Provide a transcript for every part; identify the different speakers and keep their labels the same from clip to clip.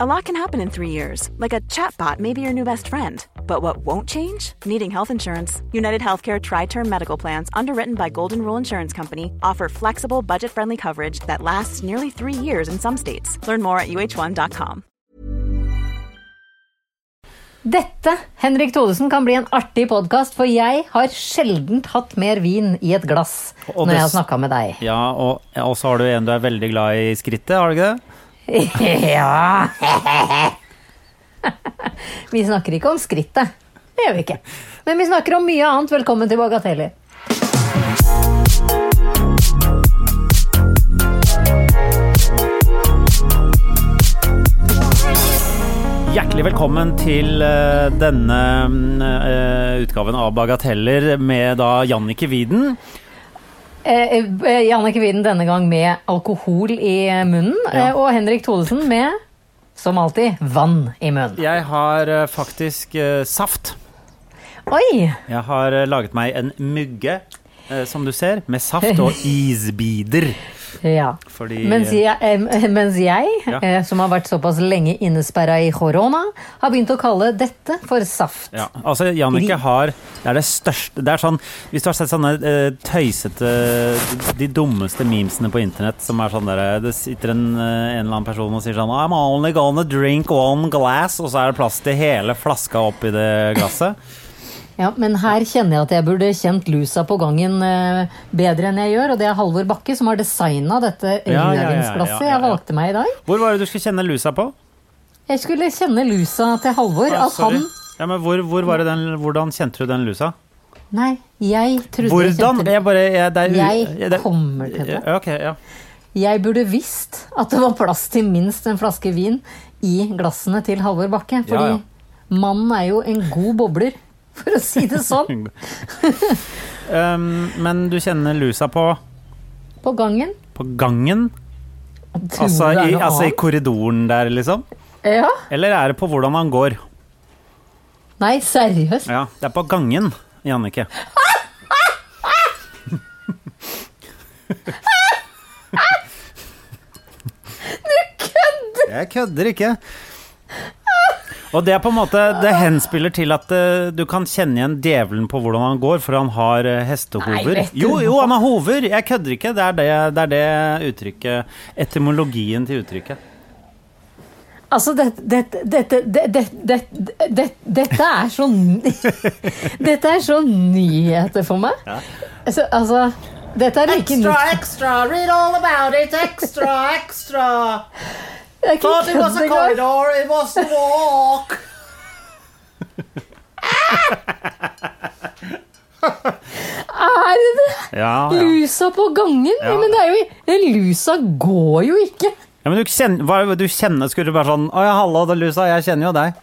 Speaker 1: A lot can happen in three years, like a chatbot may be your new best friend. But what won't change? Needing health insurance. United Healthcare Tri Term Medical Plans, underwritten by Golden Rule Insurance Company, offer flexible, budget friendly coverage that lasts nearly three years in some states. Learn more at uh1.com.
Speaker 2: Dette, Henrik Thodesen, kan bli en artig podkast, for jeg har sjelden hatt mer vin i et glass når
Speaker 3: Og det-
Speaker 2: jeg har snakka med deg.
Speaker 3: Ja, og, og så har du en du er veldig glad i skrittet, har du ikke det?
Speaker 2: ja Vi snakker ikke om skrittet. Det gjør vi ikke. Men vi snakker om mye annet. Velkommen til Bagateller.
Speaker 3: Hjertelig velkommen til eh, denne mm, eh, utgaven av Bagateller med da Jannicke Widen.
Speaker 2: Eh, eh, Jannicke Widen denne gang med alkohol i munnen, eh, og Henrik Thodesen med, som alltid, vann i munnen.
Speaker 3: Jeg har eh, faktisk eh, saft.
Speaker 2: Oi!
Speaker 3: Jeg har eh, laget meg en mugge, eh, som du ser, med saft og isbiter.
Speaker 2: Ja.
Speaker 3: Fordi
Speaker 2: Mens jeg, eh, mens jeg
Speaker 3: Ja.
Speaker 2: eh, som har vært såpass lenge innesperra i korona, har begynt å kalle dette for saft.
Speaker 3: Ja, altså Jannicke har Det er det største Det er sånn Hvis du har sett sånne eh, tøysete De dummeste memesene på internett som er sånn der eh, Det sitter en, eh, en eller annen person og sier sånn I'm only gonna drink one glass, og så er det plass til hele flaska oppi det glasset.
Speaker 2: Ja, men her kjenner jeg at jeg burde kjent lusa på gangen eh, bedre enn jeg gjør, og det er Halvor Bakke som har designa dette
Speaker 3: Ja, ja, ja, ja,
Speaker 2: rødvinsglasset
Speaker 3: ja, ja.
Speaker 2: jeg valgte meg i dag.
Speaker 3: Hvor var det du skulle kjenne lusa på?
Speaker 2: Jeg skulle kjenne lusa til Halvor.
Speaker 3: Ah,
Speaker 2: At han
Speaker 3: Ja, men hvor, hvor var det den, hvordan kjente du den lusa?
Speaker 2: Nei, jeg trodde jeg
Speaker 3: Hvordan?
Speaker 2: kjente det.
Speaker 3: Jeg bare jeg, det er,
Speaker 2: Jeg
Speaker 3: ja, det-
Speaker 2: kommer til det.
Speaker 3: Ja, ok, ja.
Speaker 2: Jeg burde visst at det var plass til minst en flaske vin i glassene til Halvor Bakke, fordi
Speaker 3: Ja, ja.
Speaker 2: mannen er jo en god bobler, for å si det sånn,
Speaker 3: Um, men du kjenner lusa på
Speaker 2: på gangen.
Speaker 3: På gangen?
Speaker 2: Tror det
Speaker 3: Altså
Speaker 2: er
Speaker 3: i,
Speaker 2: noe
Speaker 3: altså i
Speaker 2: annet.
Speaker 3: korridoren der, liksom?
Speaker 2: Ja.
Speaker 3: Eller er det på hvordan han går?
Speaker 2: Nei, seriøst.
Speaker 3: Ja, det er på gangen, Jannicke. Du kødder! Jeg kødder ikke. Og det er på en måte Det henspiller til at eh, du kan kjenne igjen djevelen på hvordan han går, for han har eh,
Speaker 2: Nei,
Speaker 3: hestehover.
Speaker 2: vet du
Speaker 3: Jo,
Speaker 2: hva?
Speaker 3: jo, han har hover! Jeg kødder ikke. Det er det, det, er det uttrykket Etymologien til uttrykket.
Speaker 2: Altså, dette Dette dette- dette- dette- dette- Dette er så n- Dette er så nyheter for meg. Altså, altså Dette er like nytt.
Speaker 3: extra, read all about it, extra, extra. Oh,
Speaker 2: Det er ikke kødd engang.
Speaker 3: it was a walk.
Speaker 2: Er det det?
Speaker 3: Ja, ja.
Speaker 2: Lusa på gangen?
Speaker 3: Ja.
Speaker 2: Men det er jo Lusa går jo ikke.
Speaker 3: ja men du kjenner, hva, du kjenner Skulle du bare sånn Å ja, hallo, det er Lusa, jeg kjenner jo deg.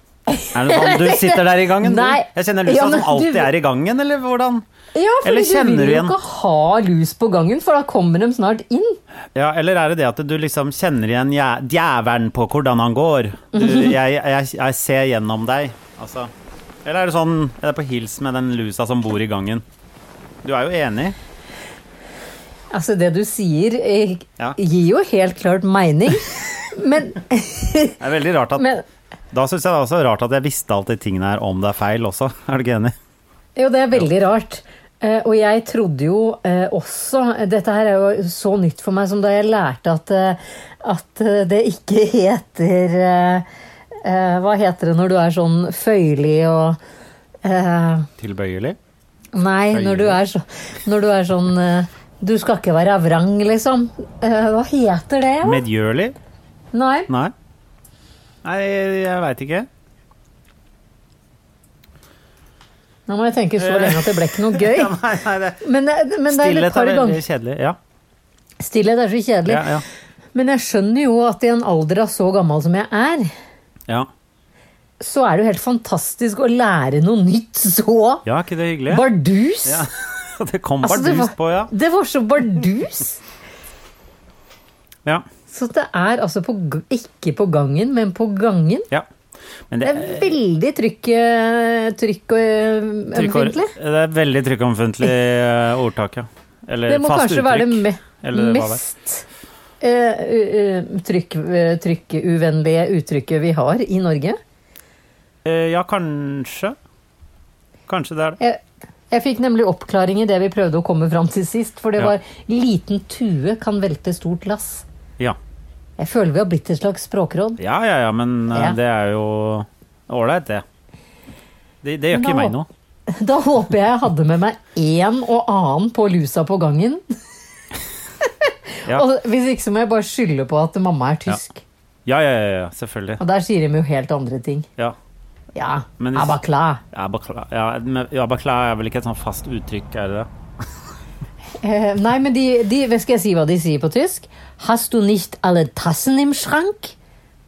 Speaker 3: Er det sånn, Du sitter der i gangen? du?
Speaker 2: Nei.
Speaker 3: Jeg kjenner Lusa
Speaker 2: Ja, men
Speaker 3: som alltid
Speaker 2: du-
Speaker 3: er i gangen, eller hvordan?
Speaker 2: Ja, fordi
Speaker 3: Eller
Speaker 2: du
Speaker 3: kjenner
Speaker 2: vil
Speaker 3: du
Speaker 2: jo
Speaker 3: igjen?
Speaker 2: ikke ha lus på gangen, for da kommer de snart inn.
Speaker 3: Ja, Eller er det det at du liksom kjenner igjen jæ- djevelen på hvordan han går? Du,
Speaker 2: Mhm.
Speaker 3: jeg, jeg, jeg ser gjennom deg, altså. Eller er det sånn Er det på hils med den lusa som bor i gangen? Du er jo enig?
Speaker 2: Altså, det du sier, eh,
Speaker 3: Ja.
Speaker 2: gir jo helt klart mening, men
Speaker 3: Det er veldig rart at
Speaker 2: Men-
Speaker 3: Da syns jeg det er også rart at jeg visste alt de tingene her om det er feil også. Er du ikke enig?
Speaker 2: Jo, det er veldig rart. Eh, og jeg trodde jo eh, også Dette her er jo så nytt for meg som da jeg lærte at, eh, at eh, det ikke heter eh, eh, Hva heter det når du er sånn føyelig og eh,
Speaker 3: Tilbøyelig?
Speaker 2: Nei, når du er, så, når du er sånn eh, Du skal ikke være vrang, liksom. Eh, hva heter det? da?
Speaker 3: Medgjørlig?
Speaker 2: Nei.
Speaker 3: Nei. Nei, jeg veit ikke.
Speaker 2: Nå må jeg tenke så lenge at det ble ikke noe gøy.
Speaker 3: Ja, nei, nei, det.
Speaker 2: Men, det- men det er litt
Speaker 3: Stillhet er
Speaker 2: harde
Speaker 3: veldig
Speaker 2: ganger.
Speaker 3: kjedelig. Ja.
Speaker 2: Stillhet er så kjedelig.
Speaker 3: Ja, ja.
Speaker 2: Men jeg skjønner jo at i en alder av så gammel som jeg er,
Speaker 3: ja.
Speaker 2: så er det jo helt fantastisk å lære noe nytt så
Speaker 3: ja, ikke det hyggelig?
Speaker 2: bardus.
Speaker 3: Ja. Det kom
Speaker 2: Altså, det,
Speaker 3: bardus
Speaker 2: var,
Speaker 3: på, ja.
Speaker 2: det var så bardus.
Speaker 3: ja.
Speaker 2: Så det er altså på, g- ikke på gangen, men på gangen.
Speaker 3: Ja. Men
Speaker 2: Det
Speaker 3: det,
Speaker 2: er veldig trykk, eh, trykk og eh,
Speaker 3: trykkår-
Speaker 2: ømfintlig.
Speaker 3: det er veldig trykkomfintlig eh, ordtak, ja. Eller
Speaker 2: Det må
Speaker 3: fast
Speaker 2: kanskje
Speaker 3: uttrykk.
Speaker 2: være det me
Speaker 3: eller hva det er.
Speaker 2: mest eh, u- u- trykk, eh, trykkuvennlige uttrykket vi har i Norge.
Speaker 3: Eh, ja, kanskje. Kanskje det er det.
Speaker 2: Jeg, jeg fikk nemlig oppklaring i det vi prøvde å komme fram til sist, for det
Speaker 3: Ja.
Speaker 2: var 'liten tue kan velte stort lass'.
Speaker 3: Ja,
Speaker 2: Jeg føler vi har blitt et slags språkråd.
Speaker 3: ja, ja, ja men eh,
Speaker 2: Ja.
Speaker 3: det er jo ålreit, det. det. Det gjør ikke
Speaker 2: Da-
Speaker 3: meg noe.
Speaker 2: Da håper jeg jeg hadde med meg en og annen på lusa på gangen.
Speaker 3: Ja.
Speaker 2: Og hvis ikke så må jeg bare skylde på at mamma er tysk.
Speaker 3: Ja, ja, ja, ja selvfølgelig.
Speaker 2: Og der sier de jo helt andre ting.
Speaker 3: Ja.
Speaker 2: Ja,
Speaker 3: Men hvis-
Speaker 2: aber klar.
Speaker 3: Abakla ja, men abakla er vel ikke et sånn fast uttrykk, er det det?
Speaker 2: Eh, nei, men de, de, hva skal jeg si hva de sier på tysk? Hast du nicht alle tassen im schrank?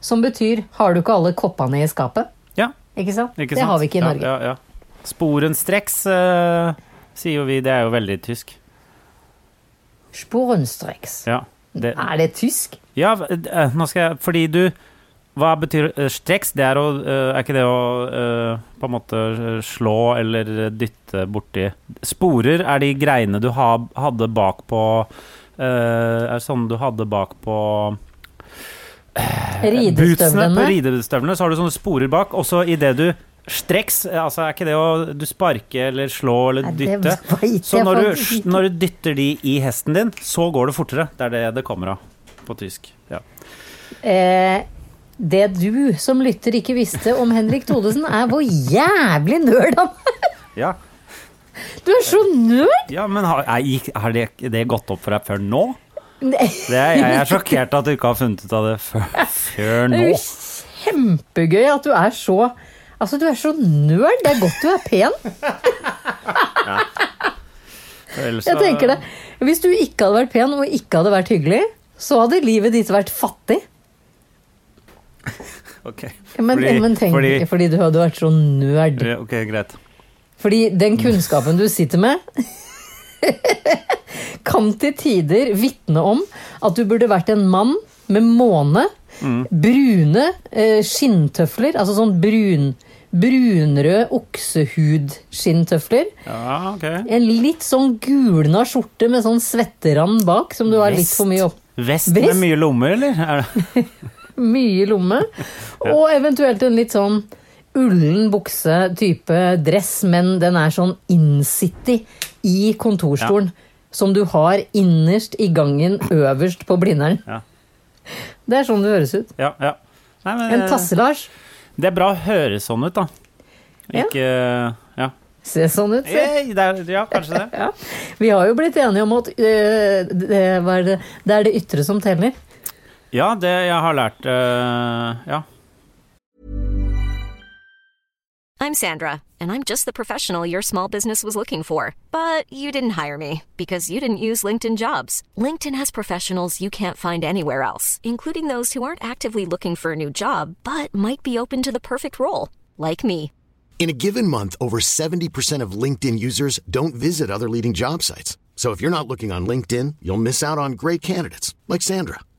Speaker 2: Som betyr har du ikke alle koppene i skapet?
Speaker 3: Ja,
Speaker 2: Ikke sant?
Speaker 3: ikke sant?
Speaker 2: det har vi ikke i
Speaker 3: ja,
Speaker 2: Norge.
Speaker 3: Ja, ja. Sporenstreks eh, sier jo vi, det er jo veldig tysk.
Speaker 2: Sporenstreks.
Speaker 3: Ja, det,
Speaker 2: Er det tysk?
Speaker 3: ja v- eh, nå skal jeg Fordi du Hva betyr eh, streks? Det er å eh, Er ikke det å eh, på en måte slå eller dytte borti Sporer er de greiene du ha, hadde bak på eh, Er sånne du hadde bak på eh, Bootsene på
Speaker 2: Ridestøvlene?
Speaker 3: ridestøvlene, så har du sånne sporer bak, og så idet du streks, altså er ikke det å du sparke eller slå eller
Speaker 2: Nei, det
Speaker 3: dytte
Speaker 2: vet jeg
Speaker 3: Så når du,
Speaker 2: faktisk ikke.
Speaker 3: når du dytter de i hesten din, så går det fortere. Det er det det kommer av på tysk. Ja.
Speaker 2: Eh, det du som lytter ikke visste om Henrik Thodesen, er hvor jævlig nerd han er!
Speaker 3: Ja.
Speaker 2: Du er så nerd!
Speaker 3: ja, men har, er, gikk- har det, det gått opp for deg før nå?
Speaker 2: Nei,
Speaker 3: Det er, jeg er sjokkert at du ikke har funnet ut av det før, før
Speaker 2: Det
Speaker 3: nå.
Speaker 2: er jo kjempegøy at du er så Altså, du er så nerd! Det er godt du er pen.
Speaker 3: Ellers
Speaker 2: Jeg
Speaker 3: så-
Speaker 2: tenker det. Hvis du ikke hadde vært pen og ikke hadde vært hyggelig, så hadde livet ditt vært fattig.
Speaker 3: Ok. Eh,
Speaker 2: Men,
Speaker 3: Fordi-
Speaker 2: men tenk
Speaker 3: fordi-
Speaker 2: fordi du hadde vært så nerd.
Speaker 3: Ja, Ok, greit.
Speaker 2: Fordi den kunnskapen du sitter med kan til tider vitne om at du burde vært en mann med måne,
Speaker 3: Mm.
Speaker 2: brune eh, skinntøfler, altså sånn brun, brunrød oksehudskinnstøfler.
Speaker 3: Ja, ok.
Speaker 2: En litt sånn gulna skjorte med sånn svetterand bak, som du har litt for mye opp.
Speaker 3: Vest
Speaker 2: Vest?
Speaker 3: med mye lommer, eller? Er det?
Speaker 2: Mye i lomme. Og eventuelt en litt sånn ullen bukse type dress, men den er sånn innsittig i kontorstolen. Som du har innerst i gangen, øverst på Blindern.
Speaker 3: Ja.
Speaker 2: Det er sånn det høres ut.
Speaker 3: Ja, ja. Nei, men,
Speaker 2: En Tasse-Lars.
Speaker 3: Det er bra å høre sånn ut, da.
Speaker 2: Ja.
Speaker 3: Ikke eh, Ja,
Speaker 2: Se sånn ut, se.
Speaker 3: Eh, det er, ja kanskje det.
Speaker 2: Ja. Vi har jo blitt enige om at øh, det, hva er det, det er det ytre som teller.
Speaker 3: Ja, det jeg har lært eh, Ja.
Speaker 4: I'm Sandra, and I'm just the professional your small business was looking for. But you didn't hire me because you didn't use LinkedIn jobs. LinkedIn has professionals you can't find anywhere else, including those who aren't actively looking for a new job but might be open to the perfect role, like me.
Speaker 5: In a given month, over 70% of LinkedIn users don't visit other leading job sites. So if you're not looking on LinkedIn, you'll miss out on great candidates like Sandra.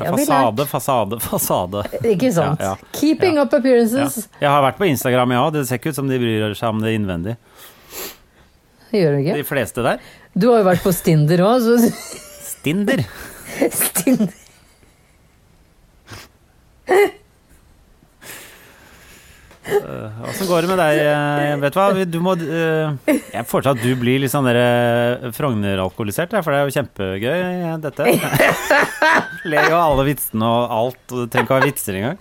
Speaker 2: Det
Speaker 3: er
Speaker 2: har vi
Speaker 3: fasade,
Speaker 2: lært.
Speaker 3: fasade, fasade.
Speaker 2: Ikke sant?
Speaker 3: Ja, ja.
Speaker 2: Keeping up
Speaker 3: Ja.
Speaker 2: appearances.
Speaker 3: Jeg har vært på Instagram, ja. Det ser ikke ut som de bryr seg om det innvendig.
Speaker 2: Det gjør du
Speaker 3: De
Speaker 2: ikke.
Speaker 3: fleste der.
Speaker 2: Du har jo vært på Stinder òg, så
Speaker 3: Stinder.
Speaker 2: Stinder.
Speaker 3: Åssen går det med deg? eh, Vet du hva, du må eh, Jeg foreslår at du blir litt sånn dere Frogner-alkoholisert, ja, for det er jo kjempegøy, eh, dette. Ler jo av alle vitsene og alt, og det trenger ikke å være vitser engang.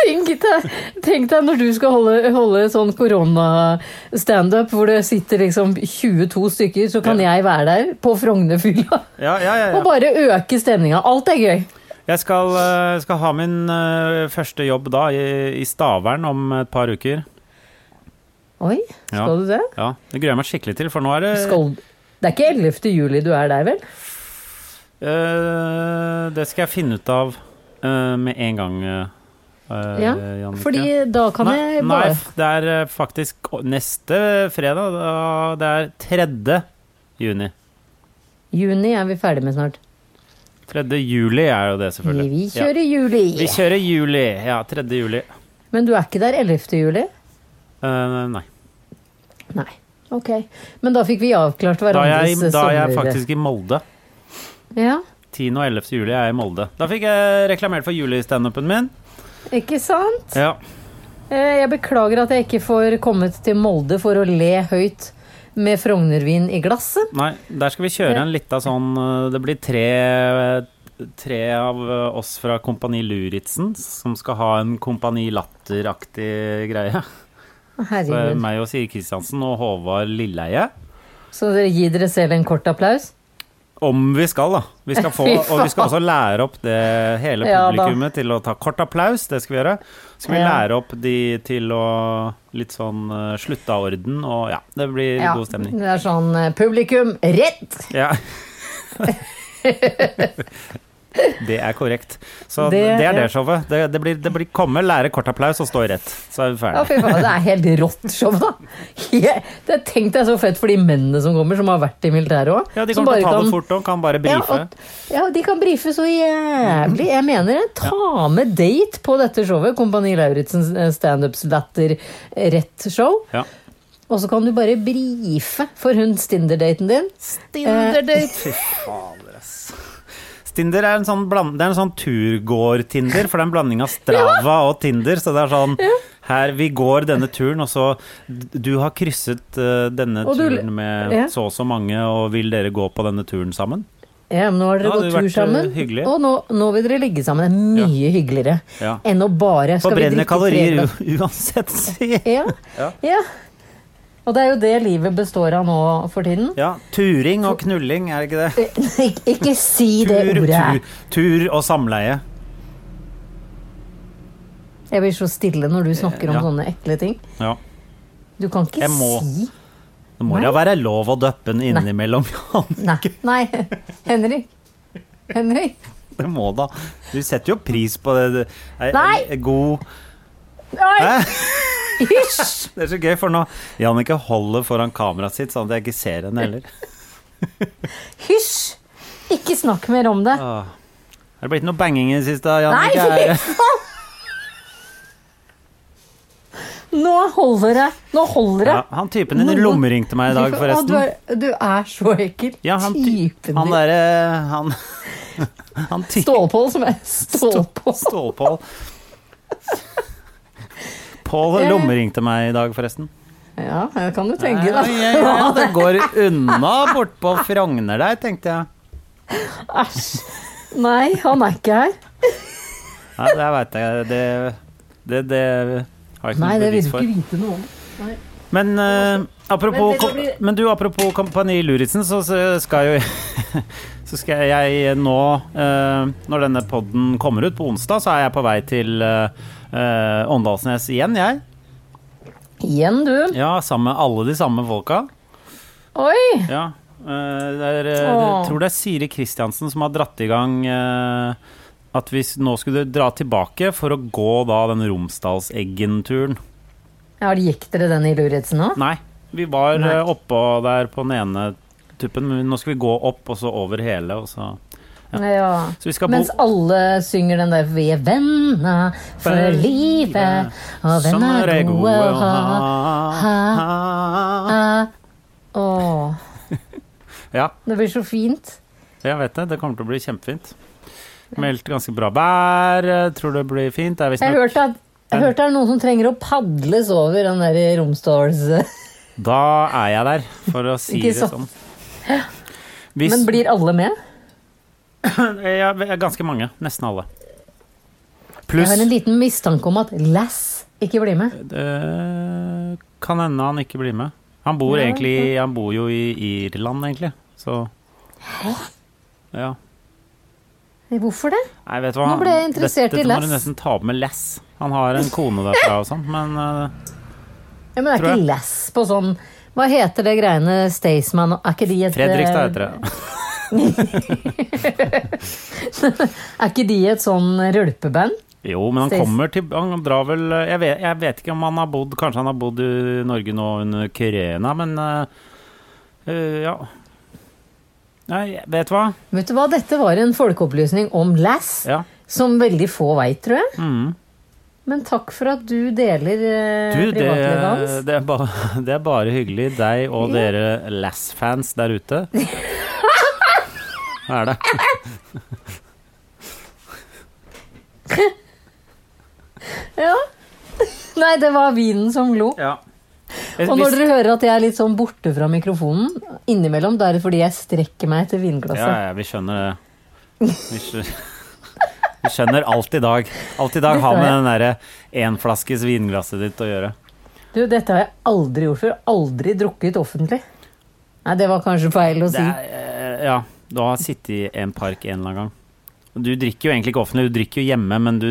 Speaker 2: Tenk deg, tenk deg når du skal holde, holde sånn korona-standup hvor det sitter liksom 22 stykker, så kan
Speaker 3: Ja.
Speaker 2: jeg være der på Frognerfylla
Speaker 3: Ja, ja, ja,
Speaker 2: og
Speaker 3: ja.
Speaker 2: bare øke stemninga. Alt er gøy.
Speaker 3: Jeg skal, eh, skal ha min eh, første jobb da i, i Stavern om et par uker.
Speaker 2: Oi,
Speaker 3: Ja.
Speaker 2: skal du det?
Speaker 3: Ja, Det gruer jeg meg skikkelig til, for nå er det
Speaker 2: Skal... Det er ikke 11. juli du er der, vel?
Speaker 3: Eh, Det skal jeg finne ut av eh, med en gang. eh,
Speaker 2: Ja,
Speaker 3: Jannicke.
Speaker 2: Fordi da kan
Speaker 3: nei,
Speaker 2: jeg
Speaker 3: nei,
Speaker 2: bare
Speaker 3: f- det er eh, faktisk å- neste fredag. da- Det er 3. juni.
Speaker 2: Juni er vi ferdig med snart.
Speaker 3: 3. juli er jo det, selvfølgelig.
Speaker 2: Vi
Speaker 3: ja.
Speaker 2: kjører juli.
Speaker 3: Vi kjører juli. Ja, 3. juli.
Speaker 2: Men du er ikke der 11. juli?
Speaker 3: Eh, nei.
Speaker 2: Nei. Ok. Men da fikk vi avklart
Speaker 3: Da er,
Speaker 2: hverandres
Speaker 3: jeg, da er jeg
Speaker 2: sommer-
Speaker 3: faktisk i Molde.
Speaker 2: Ja,
Speaker 3: 10. og 11. juli er jeg i Molde. Da fikk jeg reklamert for julistandupen min.
Speaker 2: ikke sant?
Speaker 3: Ja.
Speaker 2: Eh, Jeg beklager at jeg ikke får kommet til Molde for å le høyt med Frognervin i glasset.
Speaker 3: Nei, der skal vi kjøre en lita sånn eh, Det blir tre, tre av eh, oss fra Kompani Luritzen som skal ha en Kompani Latter-aktig greie. Så eh, er det
Speaker 2: Herregud.
Speaker 3: meg og Siri Kristiansen og Håvard Lilleheie.
Speaker 2: Så dere gir dere selv en kort applaus?
Speaker 3: Om vi skal, da. Vi skal få,
Speaker 2: Fy
Speaker 3: og vi skal også lære opp det hele
Speaker 2: Ja da.
Speaker 3: publikummet til å ta kort applaus. Det skal vi gjøre. Så skal vi
Speaker 2: Ja.
Speaker 3: lære opp de til å litt sånn eh, slutte av orden, og ja. Det blir god stemning.
Speaker 2: Det er sånn eh, publikum rett!
Speaker 3: Ja. det er korrekt. Så det,
Speaker 2: Det
Speaker 3: er det
Speaker 2: er-
Speaker 3: showet. Det, det, blir, det blir komme, lære kort applaus og stå i rett. Så er vi
Speaker 2: Ja,
Speaker 3: ferdige.
Speaker 2: fy faen, Det er helt rått show, da. He- Det Tenk deg så fett for de mennene som kommer, som har vært i militæret òg.
Speaker 3: Ja, de kommer til å ta det fort og kan bare brife.
Speaker 2: Ja,
Speaker 3: Mm.
Speaker 2: og, ja, de kan brife så jævlig. Jeg mener det. Ta med date på dette showet. Kompani Lauritzens eh, standups latter rett show.
Speaker 3: Ja.
Speaker 2: Og så kan du bare brife for hun Stinder-daten din.
Speaker 3: Fy fader, ass. Tinder er en sånn, bland, det er en sånn turgåer-Tinder, for det er en blanding av Strava og Tinder. Så det er sånn her, Vi går denne turen, og så d- Du har krysset eh, denne
Speaker 2: Og du-
Speaker 3: turen med
Speaker 2: Ja.
Speaker 3: så og så mange, og vil dere gå på denne turen sammen?
Speaker 2: Ja, men nå har dere
Speaker 3: Ja, det
Speaker 2: gått
Speaker 3: hadde
Speaker 2: tur
Speaker 3: vært, eh,
Speaker 2: sammen,
Speaker 3: hyggelig.
Speaker 2: og nå, nå vil dere ligge sammen. Det er mye hyggeligere
Speaker 3: Ja.
Speaker 2: enn å bare Eh, skal vi
Speaker 3: Forbrenner
Speaker 2: drikke tre-
Speaker 3: kalorier u- uansett, si.
Speaker 2: Ja. ja. Og det er jo det livet består av nå for tiden.
Speaker 3: Ja, turing og knulling, er det ikke det?
Speaker 2: Ik ikke si det
Speaker 3: Tur,
Speaker 2: ordet.
Speaker 3: tur, tur og samleie.
Speaker 2: Jeg blir så stille når du snakker om
Speaker 3: Ja.
Speaker 2: sånne ekle ting.
Speaker 3: Ja.
Speaker 2: Du kan ikke
Speaker 3: Jeg må.
Speaker 2: si
Speaker 3: Det må da være lov å døppe den innimellom, Jan.
Speaker 2: Nei. Nei. Henrik. Henrik.
Speaker 3: Det må da. Du setter jo pris på det. det. er-
Speaker 2: Nei!
Speaker 3: er God
Speaker 2: Oi!
Speaker 3: Hæ?
Speaker 2: Hysj!
Speaker 3: Det er så gøy, for nå Jannicke holder foran kameraet sitt, sånn at jeg ikke ser henne heller.
Speaker 2: Hysj! Ikke snakk mer om det.
Speaker 3: Åh. Er det blitt noe banging i det siste? Jannicke?
Speaker 2: Nei,
Speaker 3: Er-
Speaker 2: fy faen! Nå holder det. Nå holder det.
Speaker 3: Ja, han typen din
Speaker 2: Noen-
Speaker 3: lommeringte meg i dag,
Speaker 2: Fy faen,
Speaker 3: forresten.
Speaker 2: Du er, du er så ekkel.
Speaker 3: Ja, han, ty
Speaker 2: Typen
Speaker 3: han
Speaker 2: din.
Speaker 3: derre Han, han ty
Speaker 2: Stålpål som er Stålpål.
Speaker 3: Stålpål. Pål lommeringte meg i dag, forresten.
Speaker 2: Ja, det kan du tenke
Speaker 3: Ja,
Speaker 2: deg.
Speaker 3: ja, ja, det går unna bortpå Frogner der, tenkte jeg.
Speaker 2: Æsj. Nei, han er ikke her.
Speaker 3: Nei, det veit jeg det, det, det har jeg ikke
Speaker 2: Nei,
Speaker 3: noe
Speaker 2: det vil
Speaker 3: bevis
Speaker 2: du
Speaker 3: for.
Speaker 2: ikke vite noe om.
Speaker 3: Men, eh, apropos,
Speaker 2: Men det
Speaker 3: kom-
Speaker 2: blir-
Speaker 3: men du, apropos Kompani Luritzen, så, så skal jo Så skal jeg nå, eh, når denne podden kommer ut på onsdag, så er jeg på vei til eh, eh, Åndalsnes igjen, jeg.
Speaker 2: Igjen, du.
Speaker 3: Ja, sammen med alle de samme folka.
Speaker 2: Oi!
Speaker 3: Ja. eh, det er, eh,
Speaker 2: Åh.
Speaker 3: jeg tror det er Siri Kristiansen som har dratt i gang eh, at vi s- nå skulle dra tilbake for å gå da den Romsdalseggen-turen.
Speaker 2: Ja, Gikk dere den i Luritzen nå?
Speaker 3: Nei, vi var
Speaker 2: Nei.
Speaker 3: eh, oppå der på den ene tuppen, men nå skal vi gå opp og så over hele, og så
Speaker 2: Ja.
Speaker 3: Så vi skal bo
Speaker 2: Mens alle synger den der 'Vi er venner for livet', og
Speaker 3: Sånn
Speaker 2: venner er gode å ha. ha,
Speaker 3: ha.
Speaker 2: Åh,
Speaker 3: Ja,
Speaker 2: det blir så fint.
Speaker 3: jeg vet det. Det kommer til å bli kjempefint. Meldt ganske bra vær, eh, tror det blir fint. Det er
Speaker 2: Jeg
Speaker 3: visstnok
Speaker 2: hørte at jeg hørte det er noen som trenger å padles over den der Romsdals...
Speaker 3: Da er jeg der, for å si
Speaker 2: Ikke
Speaker 3: det
Speaker 2: sant?
Speaker 3: sånn. Hvis,
Speaker 2: Men blir alle med?
Speaker 3: ja, ganske mange. Nesten alle.
Speaker 2: Jeg
Speaker 3: Pluss
Speaker 2: har en liten mistanke om at Lass ikke blir med.
Speaker 3: eh, Kan hende han ikke blir med. Han bor, egentlig, han bor jo i Irland, egentlig, så Ja.
Speaker 2: Hvorfor det?
Speaker 3: Nei, vet du hva?
Speaker 2: Nå ble jeg interessert
Speaker 3: dette,
Speaker 2: i
Speaker 3: Dette må du
Speaker 2: Lass.
Speaker 3: nesten ta opp med Lass. Han har en kone derfra og sånn, men eh,
Speaker 2: Ja, men er
Speaker 3: Tror jeg.
Speaker 2: ikke lass på sånn Hva heter det greiene Staysman Er ikke de et
Speaker 3: Fredrikstad heter det.
Speaker 2: Er ikke de et sånn rølpeband?
Speaker 3: Jo, men han
Speaker 2: Stays-
Speaker 3: kommer til Han drar vel eh, jeg vet, jeg vet ikke om han har bodd Kanskje han har bodd i Norge nå under Kyrena, men eh, eh, Ja. Nei, vet du hva?
Speaker 2: Vet du hva, dette var en folkeopplysning om lass,
Speaker 3: Ja.
Speaker 2: som veldig få veit, tror jeg. Men takk for at du deler eh,
Speaker 3: Mm. Du, det,
Speaker 2: privatlivet hans.
Speaker 3: det, er bare, det er bare hyggelig. Deg og dere Lass-fans der ute. Hva er det?
Speaker 2: Ja. Nei, det var vinen som lo.
Speaker 3: Ja.
Speaker 2: Og når dere hører at jeg er litt sånn borte fra mikrofonen innimellom, da er det fordi jeg strekker meg etter
Speaker 3: Ja,
Speaker 2: vinglasset.
Speaker 3: ja, vi skjønner det. Vi skjønner, vi skjønner alt i dag. Alt i dag har med den derre énflaskes vinglasset ditt å gjøre.
Speaker 2: Du, dette har jeg aldri gjort før. Aldri drukket offentlig. Nei, det var kanskje feil å
Speaker 3: Det
Speaker 2: si.
Speaker 3: er, eh, ja, du har sittet i en park en eller annen gang. Og Du drikker jo egentlig ikke offentlig, du drikker jo hjemme, men du,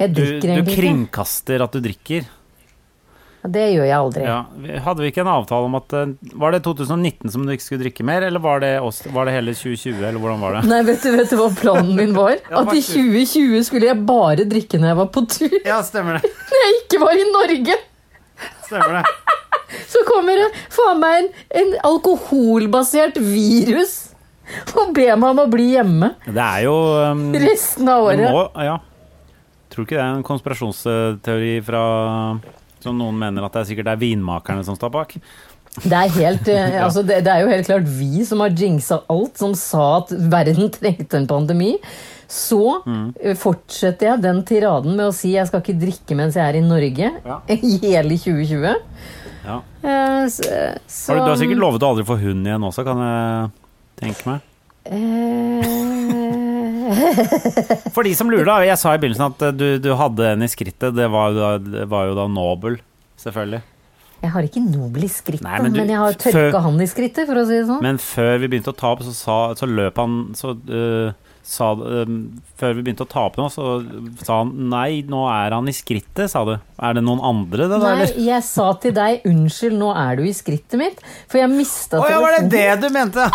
Speaker 2: Jeg
Speaker 3: du,
Speaker 2: drikker
Speaker 3: du
Speaker 2: egentlig ikke.
Speaker 3: kringkaster at du drikker.
Speaker 2: Ja, Det gjør jeg aldri.
Speaker 3: Ja, vi- hadde vi ikke en avtale om at eh, Var det 2019 som du ikke skulle drikke mer, eller var det, oss, var det hele 2020, eller hvordan var det?
Speaker 2: Nei, vet du, vet du hva planen min var?
Speaker 3: Ja,
Speaker 2: At i
Speaker 3: faktisk.
Speaker 2: 2020 skulle jeg bare drikke når jeg var på tur.
Speaker 3: Ja, stemmer det.
Speaker 2: Når jeg ikke var i Norge,
Speaker 3: Stemmer det.
Speaker 2: så kommer det faen meg en, en alkoholbasert virus og ber meg om å bli hjemme
Speaker 3: Det er jo um,
Speaker 2: resten av
Speaker 3: Du
Speaker 2: året.
Speaker 3: må, ja. Tror du ikke det er en konspirasjonsteori fra Som noen mener at det er sikkert det er vinmakerne som står bak?
Speaker 2: Det er, helt, eh, altså det, det er jo helt klart vi som har jinxa alt, som sa at verden trengte en pandemi. Så
Speaker 3: Mm.
Speaker 2: eh, fortsetter jeg den tiraden med å si jeg skal ikke drikke mens jeg er i Norge.
Speaker 3: Ja.
Speaker 2: I hele 2020.
Speaker 3: Ja.
Speaker 2: Eh, s- eh, Så,
Speaker 3: Har du, du har sikkert lovet å aldri få hund igjen også, kan jeg tenke meg.
Speaker 2: eh,
Speaker 3: For de som lurer, da. Jeg sa i begynnelsen at eh, du, du hadde en i skrittet. Det var jo da, det var jo da Nobel, selvfølgelig.
Speaker 2: Jeg har ikke Nobel i skrittet,
Speaker 3: Nei, men
Speaker 2: men,
Speaker 3: du-
Speaker 2: jeg har
Speaker 3: før-
Speaker 2: tørka han i skrittet, for å si det sånn.
Speaker 3: Men før vi begynte å ta opp, så, sa, så løp han så, eh, sa, eh, Før vi begynte å ta opp nå, så sa han nei, nå er han i skrittet, sa du. Er det noen andre, det da,
Speaker 2: Nei,
Speaker 3: eller?
Speaker 2: jeg sa til deg 'unnskyld, nå er du i skrittet mitt', for jeg mista
Speaker 3: Å ja, var det det du mente?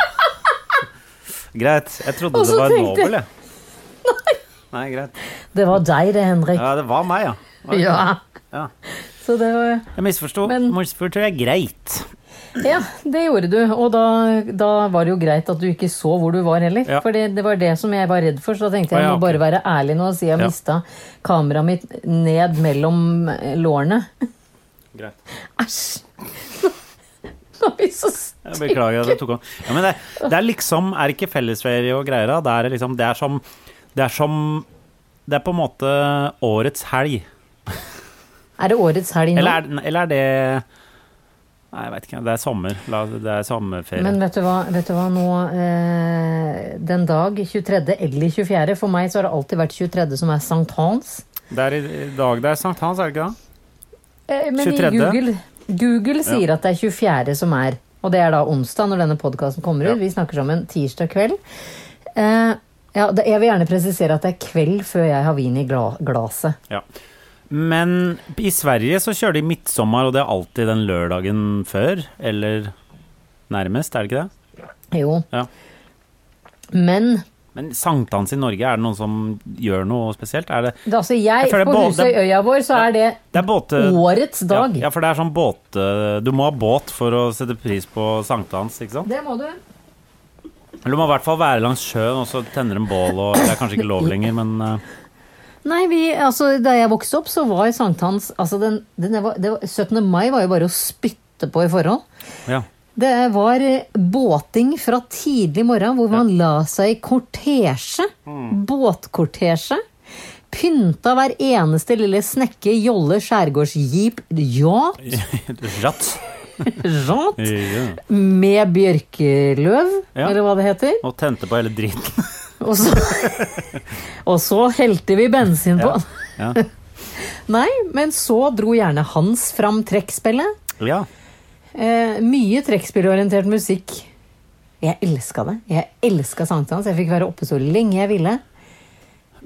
Speaker 3: greit. Jeg trodde
Speaker 2: Og så
Speaker 3: det var
Speaker 2: tenkte jeg-
Speaker 3: Nobel, jeg. Nei. greit.
Speaker 2: Det var deg det, Henrik.
Speaker 3: Ja, det var meg, ja.
Speaker 2: Ja.
Speaker 3: Ja.
Speaker 2: Så det var
Speaker 3: Jeg misforsto.
Speaker 2: Men-
Speaker 3: Misforstår jeg greit.
Speaker 2: Ja, det gjorde du. Og da, da var det jo greit at du ikke så hvor du var heller.
Speaker 3: Ja.
Speaker 2: For det, det var det som jeg var redd for. Så da tenkte
Speaker 3: Å,
Speaker 2: jeg
Speaker 3: ja,
Speaker 2: jeg må
Speaker 3: ok.
Speaker 2: bare være ærlig nå og si jeg
Speaker 3: Ja.
Speaker 2: mista kameraet mitt ned mellom eh, lårene.
Speaker 3: greit.
Speaker 2: Æsj! Nå blir jeg så
Speaker 3: Jeg
Speaker 2: stygg.
Speaker 3: beklager at jeg tok om. Ja, men det, det er liksom Er det ikke fellesferie og greier da? Det er liksom Det er som Det er som Det er på en måte årets helg.
Speaker 2: Er det årets helg nå?
Speaker 3: Eller er, eller er det Nei, jeg veit ikke. Det er sommer. La, det er sommerferie.
Speaker 2: Men vet du hva, vet du hva nå eh, Den dag 23. eller 24. For meg så har det alltid vært 23. som er sankthans.
Speaker 3: det er i i dag det er sankthans, er det ikke det?
Speaker 2: Eh, Men
Speaker 3: 23..
Speaker 2: i Google, Google sier at det er 24. som er, og det er da onsdag når denne podkasten kommer ut.
Speaker 3: Ja.
Speaker 2: Vi snakker sammen tirsdag kveld. Eh, ja, det, jeg vil gjerne presisere at det er kveld før jeg har vin i gla, glaset.
Speaker 3: Ja. Men i Sverige så kjører de midtsommer, og det er alltid den lørdagen før, eller nærmest, er det ikke det?
Speaker 2: Jo.
Speaker 3: Ja.
Speaker 2: Men
Speaker 3: Men sankthans i Norge, er det noen som gjør noe spesielt? Er det,
Speaker 2: det, altså
Speaker 3: Jeg
Speaker 2: jeg,
Speaker 3: føler
Speaker 2: på
Speaker 3: både-
Speaker 2: Husøyøya vår, så er det
Speaker 3: det er båte...
Speaker 2: årets dag.
Speaker 3: Ja, ja, for det er sånn båt... Du må ha båt for å sette pris på sankthans, ikke sant?
Speaker 2: Det må du.
Speaker 3: Eller du må i hvert fall være langs sjøen, og så tenner en bål, og det er kanskje ikke lov lenger, men eh,
Speaker 2: Nei, vi, altså, da jeg vokste opp, så var sankthans altså, den, den var, det var, 17. mai var jo bare å spytte på i forhold.
Speaker 3: ja.
Speaker 2: Det var eh, båting fra tidlig morgen, hvor man la seg i kortesje. Båtkortesje. Pynta hver eneste lille snekke, jolle, skjærgårdsjeep, yacht,
Speaker 3: Ratt.
Speaker 2: yacht
Speaker 3: Ja.
Speaker 2: med bjørkeløv,
Speaker 3: Ja.
Speaker 2: eller hva det heter.
Speaker 3: Og tente på hele dritten.
Speaker 2: Og så, og så helte vi bensin på.
Speaker 3: Ja.
Speaker 2: Nei, men så dro gjerne Hans fram trekkspillet.
Speaker 3: Ja.
Speaker 2: Eh, mye trekkspillorientert musikk. Jeg elska det. Jeg elska sankthans. Jeg fikk være oppe så lenge jeg ville.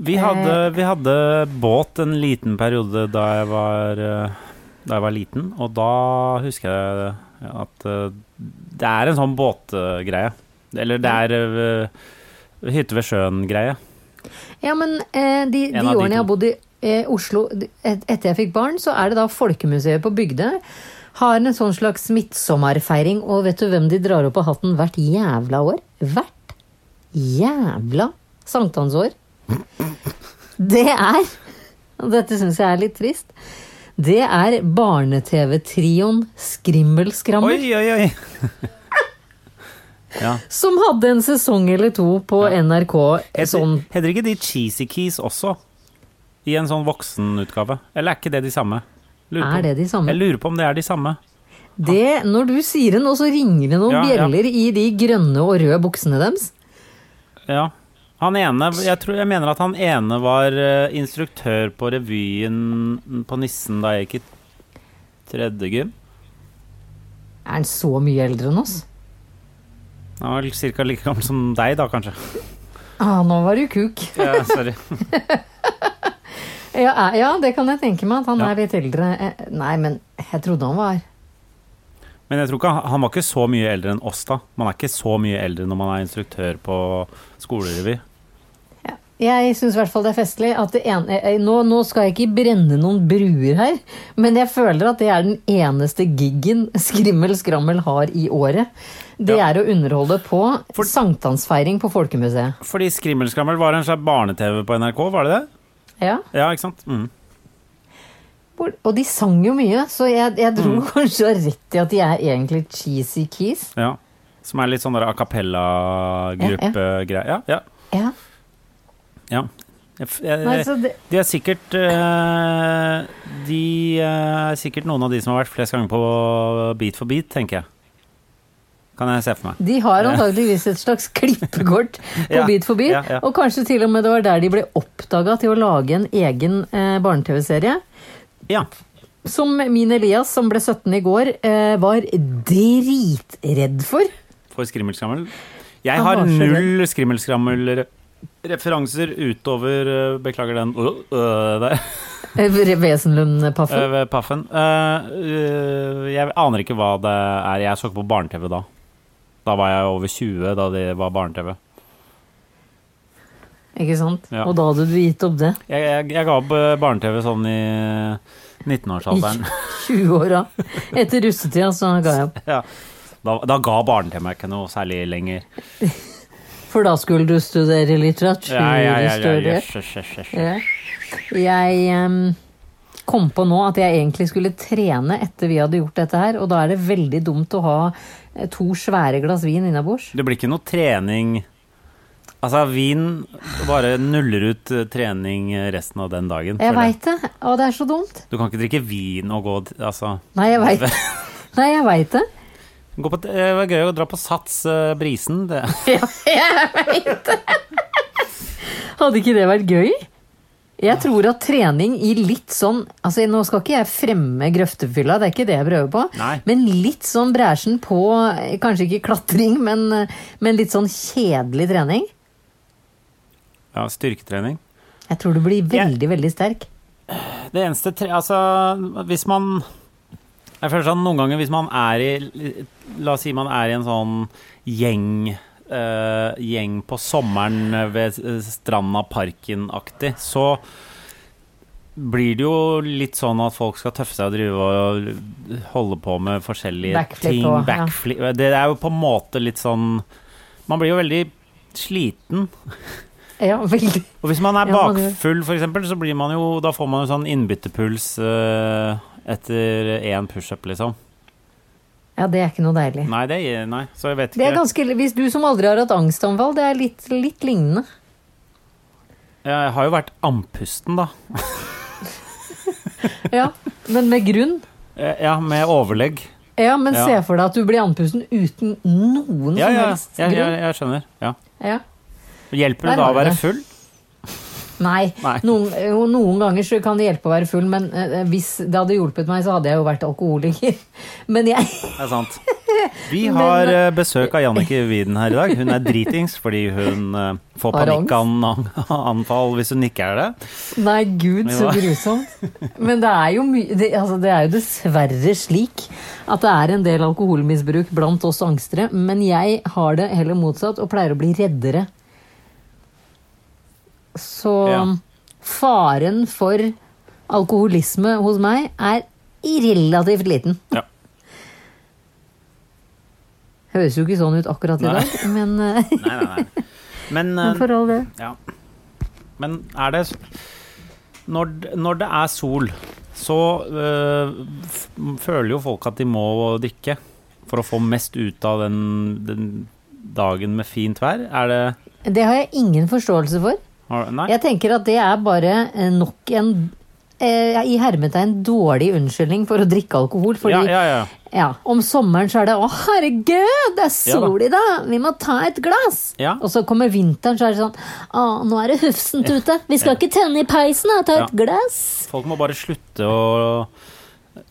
Speaker 3: Vi hadde, vi hadde båt en liten periode da jeg var, eh, da jeg var liten, og da husker jeg at eh, det er en sånn båtgreie. Eller det er eh, hytte ved sjøen-greie.
Speaker 2: Ja, men eh, de, de
Speaker 3: En av de
Speaker 2: årene jeg har
Speaker 3: to.
Speaker 2: bodd i eh, Oslo de- et, etter jeg fikk barn, så er det da Folkemuseet på Bygdøy. Har en sånn slags midtsommerfeiring, og vet du hvem de drar opp av hatten hvert jævla år? Hvert jævla sankthansår. Det er Og dette syns jeg er litt trist. Det er barne-TV-trioen Skrimmelskrammel.
Speaker 3: Oi, oi, oi! ja.
Speaker 2: Som hadde en sesong eller to på NRK.
Speaker 3: Heter,
Speaker 2: Sånn
Speaker 3: heter ikke de Cheesy Keys også? I en sånn voksenutgave? Eller er ikke det de samme? Lurer på-
Speaker 2: Er det de samme?
Speaker 3: Jeg lurer på om det er de samme.
Speaker 2: Det, når du sier det nå, så ringer det noen
Speaker 3: Ja, ja.
Speaker 2: bjeller i de grønne og røde buksene deres.
Speaker 3: Ja. Han ene, jeg, tror, jeg mener at han ene var eh, instruktør på revyen på Nissen da jeg gikk i tredje gym.
Speaker 2: Er han så mye eldre enn oss?
Speaker 3: Han var ca. like gammel som deg, da, kanskje.
Speaker 2: Ah, nå var du kuk.
Speaker 3: Ja, sorry.
Speaker 2: Ja, eh, ja, det kan jeg tenke meg, at han
Speaker 3: Ja.
Speaker 2: er litt eldre. Eh, Nei, men jeg trodde han var
Speaker 3: Men jeg tror ikke, han- han var ikke så mye eldre enn oss, da. Man er ikke så mye eldre når man er instruktør på skolerevy.
Speaker 2: Jeg syns i hvert fall det er festlig at det ene eh, nå, nå skal jeg ikke brenne noen bruer her, men jeg føler at det er den eneste giggen Skrimmel Skrammel har i året. Det
Speaker 3: Ja.
Speaker 2: er å underholde på
Speaker 3: For-
Speaker 2: sankthansfeiring på Folkemuseet.
Speaker 3: Fordi Skrimmelskrammel var en slags barne-TV på NRK, var det det?
Speaker 2: Ja.
Speaker 3: Ja, ikke sant? Mm.
Speaker 2: Hvor- Og de sang jo mye, så jeg, jeg dro
Speaker 3: Mm.
Speaker 2: kanskje rett i at de er egentlig cheesy keys.
Speaker 3: Ja. Som er litt sånn der a cappella-gruppe-greie. Ja, ja.
Speaker 2: Ja.
Speaker 3: ja. Jeg, f- jeg,
Speaker 2: Nei, så det,
Speaker 3: De er sikkert eh, De er sikkert noen av de som har vært flest ganger på Beat for beat, tenker jeg. Kan jeg se for meg.
Speaker 2: de har antageligvis et slags klippekort på
Speaker 3: Ja,
Speaker 2: Bit for bit,
Speaker 3: ja, ja.
Speaker 2: og kanskje til og med det var der de ble oppdaga til å lage en egen eh, barne-TV-serie.
Speaker 3: Ja.
Speaker 2: Som min Elias, som ble 17 i går, eh, var dritredd for. Eh,
Speaker 3: For skrimmelskrammel. Jeg
Speaker 2: Han
Speaker 3: har
Speaker 2: var så
Speaker 3: null skrimmelskrammel-referanser utover eh, Beklager den øh, øh, der
Speaker 2: Eh, Wesenlund-paffen.
Speaker 3: eh, ved paffen. Eh, eh, jeg aner ikke hva det er. Jeg så ikke på barne-TV da. Da var jeg over 20 da det var barne-TV.
Speaker 2: Ikke sant?
Speaker 3: Eh, ja.
Speaker 2: Og da hadde du gitt opp det.
Speaker 3: Jeg, jeg, jeg ga opp eh, barne-TV sånn i
Speaker 2: I
Speaker 3: 19-årsalderen.
Speaker 2: 20-åra. Etter russetida så ga jeg opp.
Speaker 3: Ja. Da, da ga barne-TV meg ikke noe særlig lenger.
Speaker 2: For da skulle du studere litteratur?
Speaker 3: Ja, ja, ja, ja,
Speaker 2: Støre.
Speaker 3: jøss, jøss, jøss, jøss.
Speaker 2: Ja. Jeg em, kom på nå at jeg egentlig skulle trene etter vi hadde gjort dette her, og da er det veldig dumt å ha eh, to svære glass vin innabords.
Speaker 3: Det blir ikke noe trening Altså, vin bare nuller ut eh, trening resten av den dagen.
Speaker 2: Jeg
Speaker 3: føler jeg.
Speaker 2: veit det, og det er så dumt.
Speaker 3: Du kan ikke drikke vin og gå t- Altså.
Speaker 2: Nei, jeg veit Nei, jeg veit det.
Speaker 3: Gå på, t- eh, det var gøy å dra på Sats eh, Brisen. Det.
Speaker 2: Ja, jeg veit det! Hadde ikke det vært gøy? Jeg tror at trening i litt sånn altså Nå skal ikke jeg fremme grøftefylla, det er ikke det jeg prøver på.
Speaker 3: Nei.
Speaker 2: Men litt sånn bræsjen på eh, Kanskje ikke klatring, men, eh, men litt sånn kjedelig trening.
Speaker 3: Ja, styrketrening.
Speaker 2: Jeg tror du blir veldig, veldig sterk.
Speaker 3: Det eneste tre... Altså, hvis man Jeg føler sånn noen ganger hvis man er i La oss si man er i en sånn gjeng eh, Gjeng på sommeren ved eh, stranda parken-aktig, så blir det jo litt sånn at folk skal tøffe seg og drive og holde på med forskjellige
Speaker 2: Backflip
Speaker 3: ting.
Speaker 2: og- ja.
Speaker 3: backflip Det er jo på en måte litt sånn Man blir jo veldig sliten.
Speaker 2: Ja, veldig.
Speaker 3: Og hvis man er
Speaker 2: Ja, man gjør.
Speaker 3: bakfull, for eksempel, så blir man jo Da får man jo sånn innbyttepuls eh, etter én pushup, liksom.
Speaker 2: Ja, det er ikke noe deilig.
Speaker 3: Nei, det gir Nei, så jeg vet
Speaker 2: Det
Speaker 3: ikke.
Speaker 2: er ganske, Hvis du som aldri har hatt angstanfall, det er litt, litt lignende.
Speaker 3: Jeg har jo vært andpusten, da.
Speaker 2: Ja, Men med grunn.
Speaker 3: Eh, Ja, med overlegg.
Speaker 2: Ja, men
Speaker 3: Ja.
Speaker 2: se for deg at du blir andpusten uten noen
Speaker 3: Ja,
Speaker 2: som
Speaker 3: ja,
Speaker 2: helst
Speaker 3: ja,
Speaker 2: grunn.
Speaker 3: ja, jeg skjønner. Ja.
Speaker 2: Ja.
Speaker 3: Hjelper
Speaker 2: Der
Speaker 3: det da å
Speaker 2: har du
Speaker 3: være
Speaker 2: det.
Speaker 3: full?
Speaker 2: Nei.
Speaker 3: Nei.
Speaker 2: Noen, jo, noen ganger så kan det hjelpe å være eh, full, men eh, hvis det hadde hjulpet meg, så hadde jeg jo vært alkoholiker. Men jeg,
Speaker 3: Det er sant. Vi har
Speaker 2: Men,
Speaker 3: eh, besøk av Jannicke Widen her i dag. Hun er dritings fordi hun eh, får
Speaker 2: Har angst.
Speaker 3: panikkanfall hvis hun ikke er det.
Speaker 2: Nei, gud, så
Speaker 3: Ja.
Speaker 2: grusomt. Men det er, jo my det, altså, det er jo dessverre slik at det er en del alkoholmisbruk blant oss angstere, men jeg har det heller motsatt og pleier å bli reddere. Så
Speaker 3: Ja.
Speaker 2: faren for alkoholisme hos meg er relativt liten.
Speaker 3: Ja.
Speaker 2: Høres jo ikke sånn ut akkurat i
Speaker 3: Nei.
Speaker 2: dag, men, eh,
Speaker 3: Nei, nei, nei. Men, eh,
Speaker 2: men for all del.
Speaker 3: ja. Men er det Når, når det er sol, så øh, f- føler jo folk at de må drikke for å få mest ut av den, den dagen med fint vær. Er det
Speaker 2: Det har jeg ingen forståelse for.
Speaker 3: har- Nei?
Speaker 2: Jeg tenker at det er bare eh, nok en eh, i hermetegn dårlig unnskyldning for å drikke alkohol. Fordi
Speaker 3: ja,
Speaker 2: ja,
Speaker 3: ja, ja.
Speaker 2: om sommeren så er det 'Å, herregud, det er
Speaker 3: Ja da.
Speaker 2: sol i dag! Vi må ta et glass!'
Speaker 3: Ja.
Speaker 2: Og så kommer vinteren, så er det sånn 'Å, nå er det hufsent ute! Vi skal ikke tenne i peisen, da! Ta et
Speaker 3: Ja.
Speaker 2: glass!'
Speaker 3: Folk må bare slutte å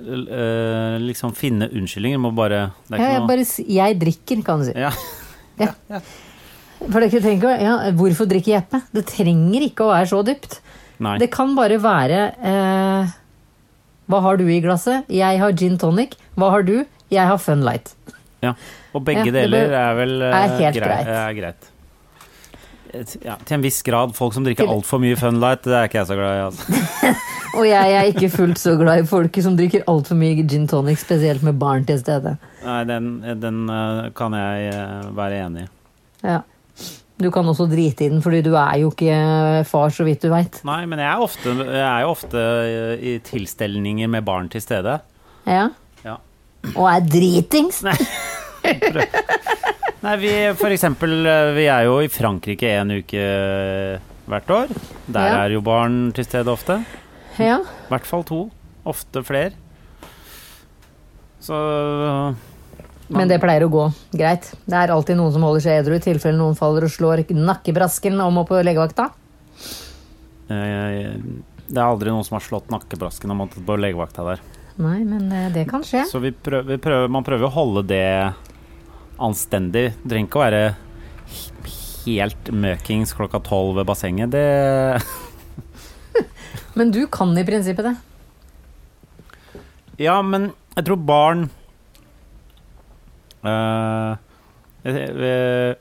Speaker 3: øh, liksom finne unnskyldninger. Må bare Det
Speaker 2: Ja,
Speaker 3: er ikke
Speaker 2: jeg,
Speaker 3: noe
Speaker 2: bare, s- jeg drikker, kan du si.
Speaker 3: ja.
Speaker 2: For dere trenger ikke å ja, Hvorfor drikker Jeppe? Det trenger ikke å være så dypt.
Speaker 3: Nei.
Speaker 2: Det kan bare være eh, Hva har du i glasset? Jeg har gin tonic. Hva har du? Jeg har fun light.
Speaker 3: Ja. Og begge
Speaker 2: Ja, det
Speaker 3: deler
Speaker 2: bør-
Speaker 3: er vel eh,
Speaker 2: er helt greit.
Speaker 3: Er greit. Et- Ja, til en viss grad. Folk som drikker
Speaker 2: Til-
Speaker 3: altfor mye Funlight, det er ikke jeg så glad i. Altså.
Speaker 2: Og jeg er ikke fullt så glad i folk som drikker altfor mye gin tonic, spesielt med barn til stede.
Speaker 3: Nei, den, den eh, kan jeg eh, være enig i.
Speaker 2: Ja. Du kan også drite i den, fordi du er jo ikke eh, far, så vidt du veit.
Speaker 3: Nei, men jeg er, ofte, jeg er jo ofte eh, i tilstelninger med barn til stede.
Speaker 2: Ja?
Speaker 3: Ja.
Speaker 2: Og er dritings!
Speaker 3: Nei, vi for eksempel eh, Vi er jo i Frankrike en uke eh, hvert år. Der
Speaker 2: Ja.
Speaker 3: er jo barn til stede ofte.
Speaker 2: Ja.
Speaker 3: I hvert fall to. Ofte flere. Så
Speaker 2: Men det pleier å gå greit. Det er alltid noen som holder seg edru, i tilfelle noen faller og slår nakkebrasken om og på legevakta.
Speaker 3: Eh, Det er aldri noen som har slått nakkebrasken og måttet på legevakta der.
Speaker 2: Nei, men eh, det kan skje.
Speaker 3: Så vi prøver, vi prøver, man prøver å holde det anstendig. Det trenger ikke å være he- helt møkings klokka tolv ved bassenget. Det
Speaker 2: Men du kan i prinsippet det.
Speaker 3: Ja, men jeg tror barn eh, eh,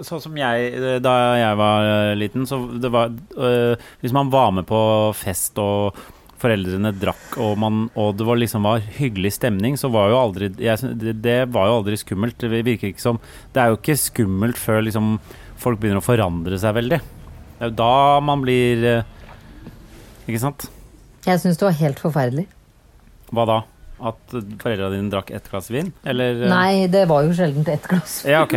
Speaker 3: Sånn som jeg eh, Da jeg var eh, liten, så det var eh, Hvis man var med på fest og foreldrene drakk og, man, og det var liksom var hyggelig stemning, så var jo aldri jeg, syn- det, det var jo aldri skummelt. Det virker ikke som Det er jo ikke skummelt før liksom folk begynner å forandre seg veldig. Det er jo da man blir eh, Ikke sant?
Speaker 2: Jeg syns det var helt forferdelig.
Speaker 3: Hva da? At foreldra dine drakk ett glass vin? Eller eh,
Speaker 2: Nei, sånn. det var jo sjelden ett glass.
Speaker 3: Ja, ok.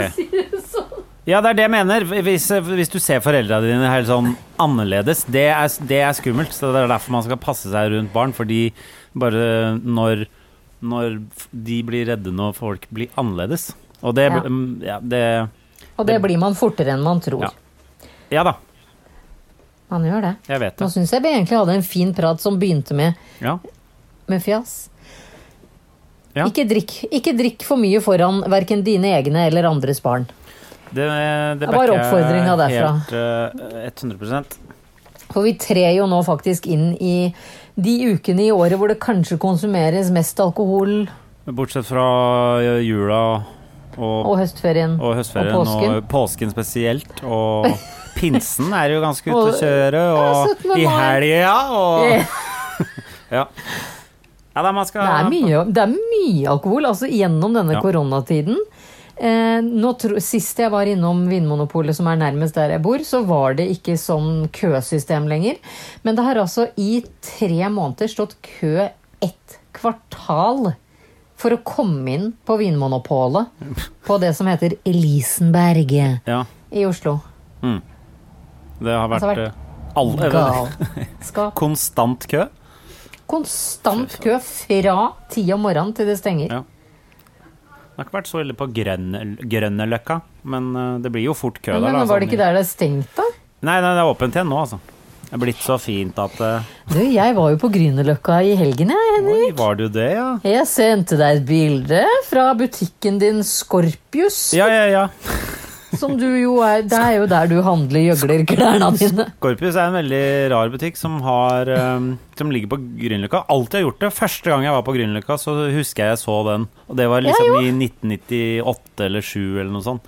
Speaker 3: Ja, det er det jeg mener. Hvis, eh, hvis du ser foreldra dine helt sånn annerledes, det er, det er skummelt. Så det er derfor man skal passe seg rundt barn, fordi bare når, når de blir redde når folk blir annerledes. Og det
Speaker 2: Ja.
Speaker 3: mm, Ja, det,
Speaker 2: Og det blir man fortere enn man tror.
Speaker 3: Ja. ja da,
Speaker 2: Man gjør det.
Speaker 3: jeg vet
Speaker 2: Nå
Speaker 3: det.
Speaker 2: syns jeg vi egentlig hadde en fin prat som begynte med,
Speaker 3: Ja.
Speaker 2: med fjas.
Speaker 3: Ja.
Speaker 2: Ikke, drikk, ikke drikk for mye foran verken dine egne eller andres barn.
Speaker 3: Det, det
Speaker 2: var
Speaker 3: backer jeg
Speaker 2: oppfordringen derfra.
Speaker 3: Helt, eh, 100
Speaker 2: For vi trer jo nå faktisk inn i de ukene i året hvor det kanskje konsumeres mest alkohol
Speaker 3: Bortsett fra eh, jula og
Speaker 2: og høstferien.
Speaker 3: Og høstferien
Speaker 2: Og
Speaker 3: og
Speaker 2: påsken.
Speaker 3: påsken, spesielt. Og pinsen er jo ganske ute
Speaker 2: Og-
Speaker 3: å kjøre.
Speaker 2: Ja,
Speaker 3: Og
Speaker 2: 17.
Speaker 3: i
Speaker 2: mai.
Speaker 3: helga
Speaker 2: Ja.
Speaker 3: og Ja. Ja, da man skal
Speaker 2: Det er mye, det er mye alkohol, altså gjennom denne
Speaker 3: Ja.
Speaker 2: koronatiden. Eh, nå tro, sist jeg var innom Vinmonopolet, som er nærmest der jeg bor, så var det ikke sånn køsystem lenger. Men det har altså i tre måneder stått kø ett kvartal for å komme inn på Vinmonopolet på det som heter Elisenberg i
Speaker 3: Ja,
Speaker 2: Oslo.
Speaker 3: det har vært,
Speaker 2: Altså, vært
Speaker 3: eh, all- eh,
Speaker 2: Galskap.
Speaker 3: Konstant kø.
Speaker 2: Konstant kø fra ti om morgenen til det stenger.
Speaker 3: Ja. Det har ikke vært så ille på Grønne- Grønneløkka, men eh, det blir jo fort kø der.
Speaker 2: Men
Speaker 3: da,
Speaker 2: var det
Speaker 3: sånn
Speaker 2: ikke
Speaker 3: i-
Speaker 2: der det er stengt, da?
Speaker 3: Nei, nei, det er åpent igjen nå, altså. Det er blitt så fint at eh,
Speaker 2: Du, jeg var jo på Grünerløkka i helgen, jeg. Henrik.
Speaker 3: Oi, var du det, ja?
Speaker 2: Jeg sendte deg et bilde fra butikken din Scorpius,
Speaker 3: Ja, ja, ja.
Speaker 2: som du jo er Det er jo der du handler gjøglerklærne dine.
Speaker 3: Scorpius er en veldig rar butikk som, har, eh, som ligger på Grünerløkka. Alltid har gjort det. Første gang jeg var på Grünerløkka, så husker jeg jeg så den. Og det var liksom i 1998 eller 7 eller noe sånt.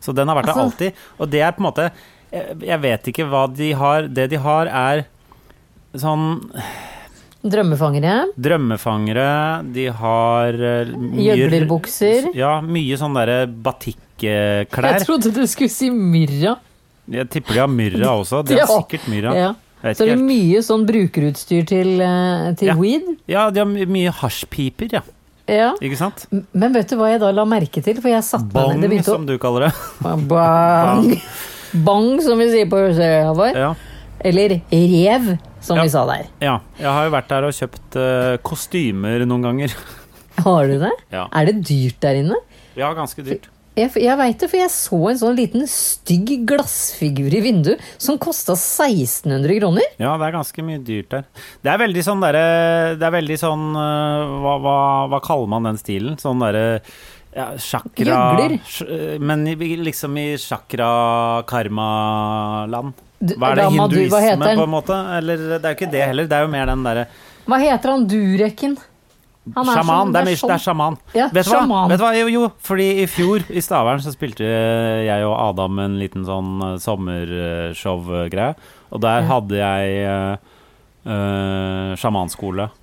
Speaker 3: Så den har vært der
Speaker 2: Altså-
Speaker 3: alltid. Og det er på en måte Jeg jeg vet ikke hva de har. Det de har, er sånn
Speaker 2: Drømmefangere.
Speaker 3: Drømmefangere, de har eh, mye-
Speaker 2: Gjøglerbukser.
Speaker 3: Ja, mye sånn derre batikklær.
Speaker 2: Jeg trodde du skulle si Myrra.
Speaker 3: Jeg tipper de har myrra også. De
Speaker 2: Ja.
Speaker 3: har sikkert myrra.
Speaker 2: Ja.
Speaker 3: Jeg vet
Speaker 2: Så det
Speaker 3: ikke
Speaker 2: er
Speaker 3: helt.
Speaker 2: mye sånn brukerutstyr til, eh, til
Speaker 3: Ja.
Speaker 2: weed.
Speaker 3: Ja, de har my- mye hasjpiper, ja.
Speaker 2: Ja.
Speaker 3: Ikke sant?
Speaker 2: M- Men vet du hva jeg da la merke til? For jeg satt meg
Speaker 3: Bong,
Speaker 2: ned Mm. det begynte
Speaker 3: som du kaller det.
Speaker 2: å... Bang. Bang, som vi sier på Sørøya vår.
Speaker 3: Ja.
Speaker 2: Eller rev, som
Speaker 3: Ja.
Speaker 2: vi sa der.
Speaker 3: ja. Jeg har jo vært der og kjøpt eh, kostymer noen ganger.
Speaker 2: Har du det?
Speaker 3: Ja.
Speaker 2: Er det dyrt der inne?
Speaker 3: Ja, ganske dyrt.
Speaker 2: Jeg, jeg veit det, for jeg så en sånn liten stygg glassfigur i vinduet som kosta 1600 kroner.
Speaker 3: Ja, det er ganske mye dyrt der. Det er veldig sånn derre Det er veldig sånn eh, hva, hva, hva kaller man den stilen? Sånn derre ja, Sjakra
Speaker 2: Gjøgler.
Speaker 3: sj- Men i, liksom i sjakra-karma-land.
Speaker 2: Du-
Speaker 3: Hva er det?
Speaker 2: Rama, du, hva heter
Speaker 3: Hinduisme,
Speaker 2: den?
Speaker 3: på en måte? Eller det er jo ikke det heller. Det er jo mer den derre
Speaker 2: Hva heter han dureken? Han er
Speaker 3: Sjaman.
Speaker 2: sånn-
Speaker 3: det, er, mye- det er sjaman.
Speaker 2: Ja,
Speaker 3: vet, du hva?
Speaker 2: sjaman.
Speaker 3: vet du hva? Jo, jo, fordi i fjor i Stavern så spilte jeg og Adam en liten sånn eh, sommershow-greie. Og der hadde jeg eh, eh, sjamanskole. eh,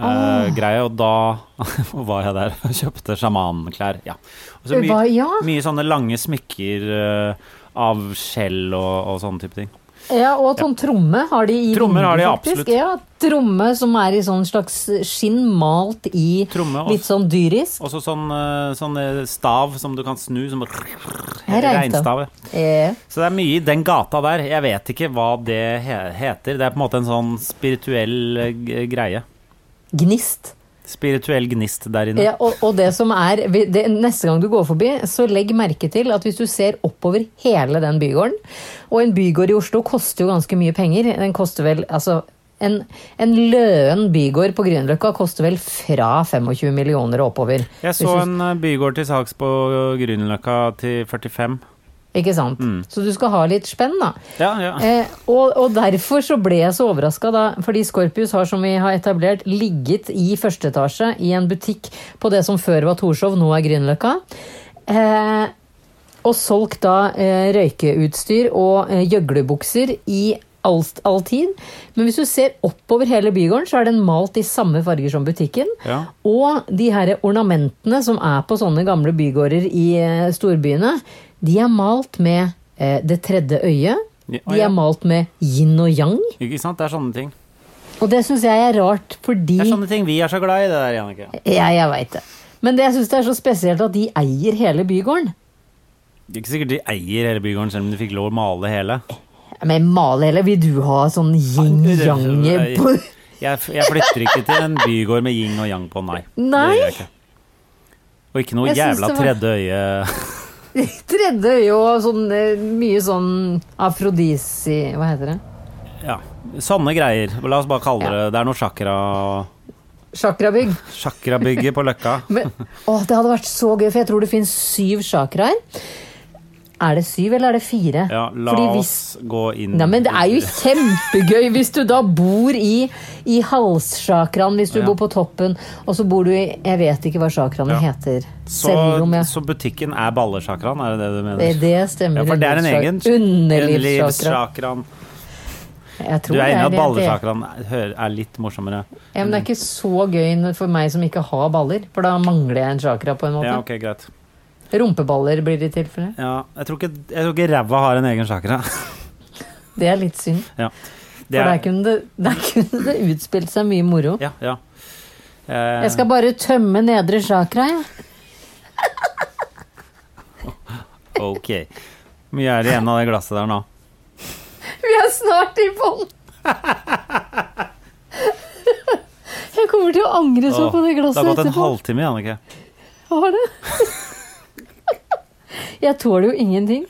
Speaker 2: Ah.
Speaker 3: Greie, og da var jeg der og kjøpte sjamanklær. Ja. Og så
Speaker 2: Det var- ja.
Speaker 3: mye sånne lange smykker eh, av skjell og, og sånne type ting.
Speaker 2: Ja, og sånn tromme har de i
Speaker 3: Trommer har de
Speaker 2: vinduet, faktisk.
Speaker 3: absolutt.
Speaker 2: Ja, tromme som er i sånn slags skinn malt i
Speaker 3: Tromme og-
Speaker 2: litt sånn dyrisk.
Speaker 3: Og så sånn, eh, sånn eh, stav som du kan snu. Som
Speaker 2: Regnstav.
Speaker 3: regnstav. ja.
Speaker 2: Eh,
Speaker 3: Så det er mye i den gata der. Jeg vet ikke hva det he heter. Det er på en måte en sånn spirituell eh, g- greie.
Speaker 2: gnist.
Speaker 3: Spirituell gnist der inne.
Speaker 2: Ja, og, og det som er vi- det, Neste gang du går forbi, så legg merke til at hvis du ser oppover hele den bygården Og en bygård i Oslo koster jo ganske mye penger. Den koster vel altså en, en løen bygård på Grünerløkka koster vel fra 25 millioner og oppover.
Speaker 3: Jeg
Speaker 2: Hvis
Speaker 3: så
Speaker 2: du-
Speaker 3: en eh, bygård til salgs på Grünerløkka til 45.
Speaker 2: Ikke sant?
Speaker 3: Mm.
Speaker 2: Så du skal ha litt spenn, da.
Speaker 3: Ja, ja.
Speaker 2: Eh, og, og derfor så ble jeg så overraska, da. Fordi Scorpius har, som vi har etablert, ligget i første etasje i en butikk på det som før var Torshov, nå er Grünerløkka. Eh, og solgt da eh, røykeutstyr og eh, gjøglebukser i alt, all tid. Men hvis du ser oppover hele bygården, så er den malt i samme farger som butikken.
Speaker 3: Ja.
Speaker 2: Og de her ornamentene som er på sånne gamle bygårder i eh, storbyene, de er malt med eh, det tredje øyet.
Speaker 3: Ja,
Speaker 2: De
Speaker 3: ja.
Speaker 2: er malt med yin og yang.
Speaker 3: Ikke sant? Det er sånne ting.
Speaker 2: Og det syns jeg er rart, fordi
Speaker 3: Det er sånn- sånne ting vi er så glad i, det der, Jannicke.
Speaker 2: Ja, jeg veit det. Men det jeg syns er så spesielt at de eier hele bygården.
Speaker 3: Det er ikke sikkert de eier hele bygården, selv om de fikk lov å male hele.
Speaker 2: Men male hele, vil du ha sånn yin-yang på
Speaker 3: Jeg, jeg flytter ikke til en bygård med yin og yang på, nei.
Speaker 2: Nei.
Speaker 3: Det gjør jeg ikke. Og ikke noe
Speaker 2: Jeg syns
Speaker 3: jævla
Speaker 2: det var-
Speaker 3: tredje øye.
Speaker 2: tredje øye og sånn eh, mye sånn afrodisi... Hva heter det?
Speaker 3: Ja, sånne greier. La oss bare kalle det Det er noe chakra
Speaker 2: Chakrabygg.
Speaker 3: Chakrabygget på Løkka.
Speaker 2: Men, å, det hadde vært så gøy, for jeg tror det finnes syv chakraer. Er det syv, eller er det fire?
Speaker 3: Ja, la
Speaker 2: Fordi
Speaker 3: oss gå inn
Speaker 2: Nei, men det er jo kjempegøy hvis du da bor i, i halschakraen, hvis du
Speaker 3: Ja.
Speaker 2: bor på toppen, og så bor du i Jeg vet ikke hva chakraene
Speaker 3: Ja.
Speaker 2: heter.
Speaker 3: så,
Speaker 2: Selv om jeg
Speaker 3: så butikken er ballechakraen, er det det du mener?
Speaker 2: Det, det stemmer.
Speaker 3: ja, for det er en egen
Speaker 2: Underlivschakraen.
Speaker 3: Du er inne i at ballechakraen er er litt morsommere.
Speaker 2: Ja, men det er ikke så gøy for meg som ikke har baller, for da mangler jeg en chakra på en måte.
Speaker 3: Ja, ok, greit.
Speaker 2: Rumpeballer blir det i tilfelle.
Speaker 3: Ja, jeg tror ikke, jeg tror ikke ræva har en egen chakra.
Speaker 2: Det er litt synd.
Speaker 3: Ja.
Speaker 2: For der kunne det, der kunne det utspilt seg mye moro.
Speaker 3: Ja, ja. Eh,
Speaker 2: Jeg skal bare tømme nedre chakra, jeg.
Speaker 3: Ok. Mye er igjen av det glasset der nå.
Speaker 2: Vi er snart i bånn! Jeg kommer til å angre så
Speaker 3: Åh,
Speaker 2: på det
Speaker 3: det har
Speaker 2: glasset
Speaker 3: gått en
Speaker 2: etterpå.
Speaker 3: halvtime, Jannicke.
Speaker 2: Har det? Jeg tåler jo ingenting.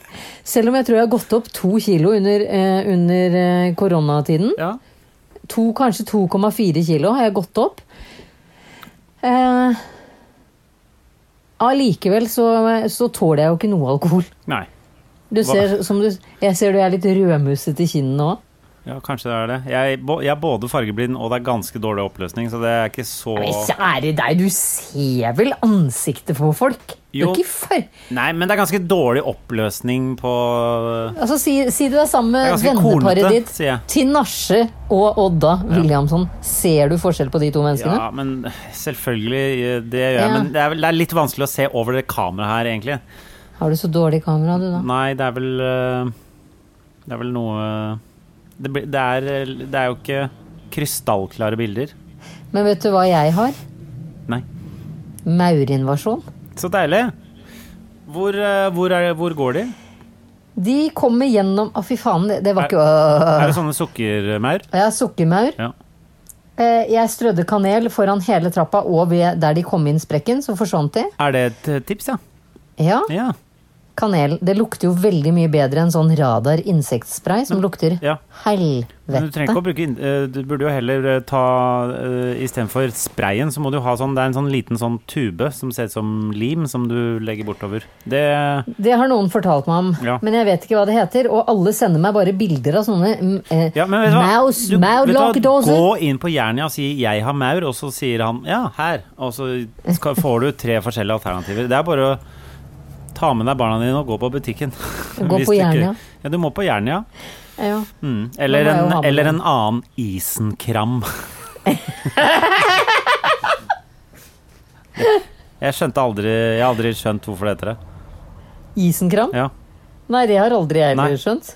Speaker 2: Selv om jeg tror jeg har gått opp to kilo under, eh, under eh, koronatiden.
Speaker 3: Ja.
Speaker 2: To, kanskje 2,4 kilo har jeg gått opp. Eh, Allikevel så, så tåler jeg jo ikke noe alkohol.
Speaker 3: Nei.
Speaker 2: Du ser, som du, jeg ser du er litt rødmusete i kinnene òg.
Speaker 3: Ja, kanskje det er det. Jeg, bo- jeg er både fargeblind, og det er ganske dårlig oppløsning, så det er ikke så
Speaker 2: Men kjære deg, du ser vel ansiktet på folk? Det
Speaker 3: Jo.
Speaker 2: er ikke far...
Speaker 3: Nei, men det er ganske dårlig oppløsning på
Speaker 2: Altså, si, si du er sammen
Speaker 3: Det er
Speaker 2: med
Speaker 3: ganske
Speaker 2: venneparet
Speaker 3: kornete,
Speaker 2: ditt,
Speaker 3: sier jeg.
Speaker 2: Tinashe og Odda Williamson. Ser du forskjell på de to menneskene?
Speaker 3: Ja, men selvfølgelig, eh, det gjør jeg.
Speaker 2: Ja.
Speaker 3: Men det er, vel, det er litt vanskelig å se over det kameraet her, egentlig.
Speaker 2: Har du så dårlig kamera, du, da?
Speaker 3: Nei, det er vel øh, Det er vel noe eh, Det, blir- det, er, det er jo ikke krystallklare bilder.
Speaker 2: Men vet du hva jeg har?
Speaker 3: Nei.
Speaker 2: Maurinvasjon.
Speaker 3: Så deilig. Hvor, øh, hvor, er, hvor går de?
Speaker 2: De kommer gjennom Å, fy faen, det, det var ikke
Speaker 3: Er
Speaker 2: øh.
Speaker 3: det sånne sukkermaur?
Speaker 2: Ja, Sukkermaur.
Speaker 3: Ja.
Speaker 2: Eh, Jeg strødde kanel foran hele trappa og ved der de kom inn sprekken, så forsvant de.
Speaker 3: Er det et eh, tips, ja?
Speaker 2: Ja,
Speaker 3: Ja.
Speaker 2: kanel. Det lukter jo veldig mye bedre enn sånn radar insektspray som lukter
Speaker 3: ja. Men du trenger
Speaker 2: helvete.
Speaker 3: ikke å bruke inn- eh, Du burde jo heller eh, ta eh, Istedenfor sprayen, så må du ha sånn Det er en sånn liten sånn tube som ser ut som lim, som du legger bortover. Det
Speaker 2: Det har noen fortalt meg om,
Speaker 3: Ja.
Speaker 2: men jeg vet ikke hva det heter. Og alle sender meg bare bilder av sånne mm, eh,
Speaker 3: Ja, men vet du hva?
Speaker 2: maus,
Speaker 3: Du- vet du hva?
Speaker 2: maulokkedoser.
Speaker 3: Gå inn på Jernia og si 'jeg har maur', og så sier han 'ja, her'. Og så skal, får du tre forskjellige alternativer. Det er bare å ta med deg barna dine og gå på butikken.
Speaker 2: Gå
Speaker 3: Hvis
Speaker 2: på
Speaker 3: du ikke-
Speaker 2: Jernia.
Speaker 3: Ja, du må på Jernia.
Speaker 2: Ja.
Speaker 3: Mm. Eller,
Speaker 2: Da må jeg jo
Speaker 3: en,
Speaker 2: ha med
Speaker 3: eller
Speaker 2: den.
Speaker 3: en annen isenkram. jeg skjønte aldri Jeg har aldri skjønt hvorfor det heter det.
Speaker 2: Isenkram?
Speaker 3: Ja.
Speaker 2: Nei, det har aldri jeg
Speaker 3: Nei.
Speaker 2: heller skjønt.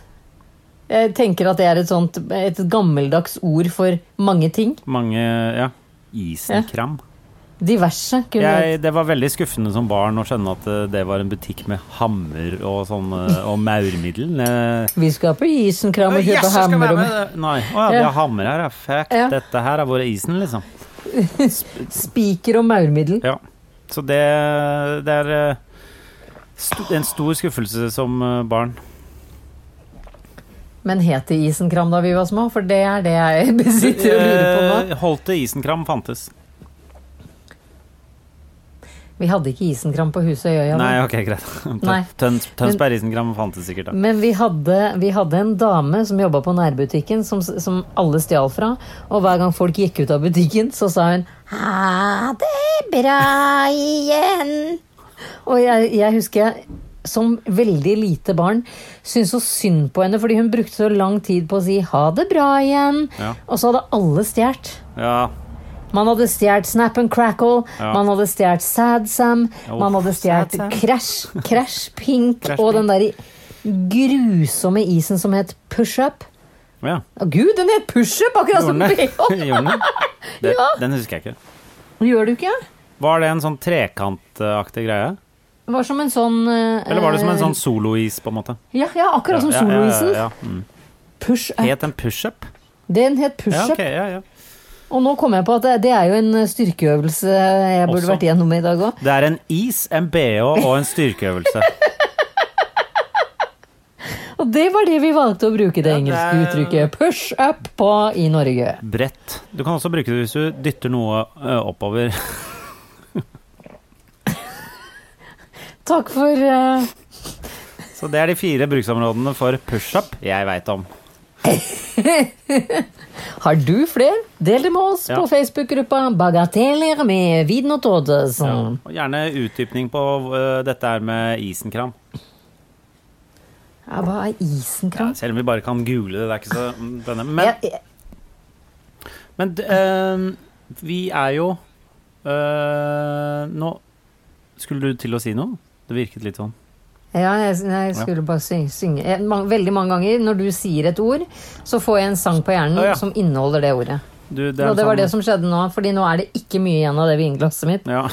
Speaker 2: Jeg tenker at det er et sånt et gammeldags ord for mange ting.
Speaker 3: Mange Ja. Isenkram.
Speaker 2: Diverse. Kunne
Speaker 3: Jeg, det var veldig skuffende som barn å skjønne at eh, det var en butikk med hammer og sånn eh, og maurmiddel. Eh,
Speaker 2: Vi skal på isenkram og kjøpe hammer og
Speaker 3: Nei. Å ja, vi har hammer her, ja. Fuck,
Speaker 2: Ja.
Speaker 3: dette her er vår isen, liksom.
Speaker 2: spiker og maurmiddel.
Speaker 3: Ja. Så det, det er eh, sto, en stor skuffelse som eh, barn.
Speaker 2: Men het det isenkram da vi var små? For det er det jeg besitter og lurer på nå.
Speaker 3: Eh, Holdt det isenkram fantes.
Speaker 2: Vi hadde ikke isenkram på huset i Øya. da.
Speaker 3: Nei, ok, greit. Tøn-
Speaker 2: Nei. Mm.
Speaker 3: Tøns, Tønsberg isenkram fantes sikkert da.
Speaker 2: Men vi hadde, vi hadde en dame som jobba på nærbutikken, som, som alle stjal fra. Og hver gang folk gikk ut av butikken, så sa hun 'ha det bra igjen'. Og jeg, jeg husker jeg som veldig lite barn syntes så synd på henne, fordi hun brukte så lang tid på å si 'ha det bra igjen',
Speaker 3: Ja.
Speaker 2: og så hadde alle stjålet.
Speaker 3: Ja.
Speaker 2: Man hadde stjålet Snap and Crackle,
Speaker 3: Ja.
Speaker 2: man hadde stjålet Sad Sam,
Speaker 3: Ja,
Speaker 2: man hadde
Speaker 3: uff,
Speaker 2: stjålet
Speaker 3: Sad Sam.
Speaker 2: Crash, Crash Pink
Speaker 3: Crash
Speaker 2: og den der grusomme isen som het Push Up.
Speaker 3: ja.
Speaker 2: Å gud, den het Push Up, akkurat som
Speaker 3: Gjorde den det?
Speaker 2: BH!
Speaker 3: Gjorde den det? Det-
Speaker 2: Ja.
Speaker 3: Den husker jeg ikke.
Speaker 2: Gjør du ikke?
Speaker 3: Var det en sånn trekantaktig greie?
Speaker 2: Det var som en sånn eh,
Speaker 3: Eller var det som en sånn solois, på en måte?
Speaker 2: Ja, ja akkurat som
Speaker 3: Ja, ja, ja,
Speaker 2: soloisen.
Speaker 3: ja, ja. Mm.
Speaker 2: Push Up.
Speaker 3: Het den pushup?
Speaker 2: Den het Push
Speaker 3: Ja,
Speaker 2: Up.
Speaker 3: ok, ja, ja.
Speaker 2: Og nå kom jeg på at det, det er jo en eh, styrkeøvelse jeg burde
Speaker 3: Også.
Speaker 2: vært igjennom i dag òg.
Speaker 3: Det er en is, en bh og en styrkeøvelse.
Speaker 2: Og det var det vi valgte å bruke det
Speaker 3: Ja, det
Speaker 2: engelske
Speaker 3: er-
Speaker 2: uttrykket push up på i Norge.
Speaker 3: Brett. Du kan også bruke det hvis du dytter noe ø, oppover.
Speaker 2: Takk for eh,
Speaker 3: Så det er de fire bruksområdene for pushup jeg veit om.
Speaker 2: Har du flere? Del det med oss
Speaker 3: Ja.
Speaker 2: på Facebook-gruppa Bagateller med Viden og
Speaker 3: Ja.
Speaker 2: Todesen.
Speaker 3: Og gjerne utdypning på ø, dette her med isenkram.
Speaker 2: Ja. hva er isenkram?
Speaker 3: Selv om vi bare kan google det, det er ikke så mm, spennende. Men,
Speaker 2: Jeg- jeg-
Speaker 3: men d- ø, vi er jo ø, Nå Skulle du til å si noe? Det virket litt sånn.
Speaker 2: Ja, jeg, jeg skulle bare sy- synge Jeg- mang- Veldig mange ganger når du sier et ord, så får jeg en sang på hjernen
Speaker 3: Å, ja.
Speaker 2: som inneholder det ordet.
Speaker 3: Du, det er
Speaker 2: Og det var
Speaker 3: sånn-
Speaker 2: det som skjedde nå, Fordi nå er det ikke mye igjen av det vinglasset mitt.
Speaker 3: Ja.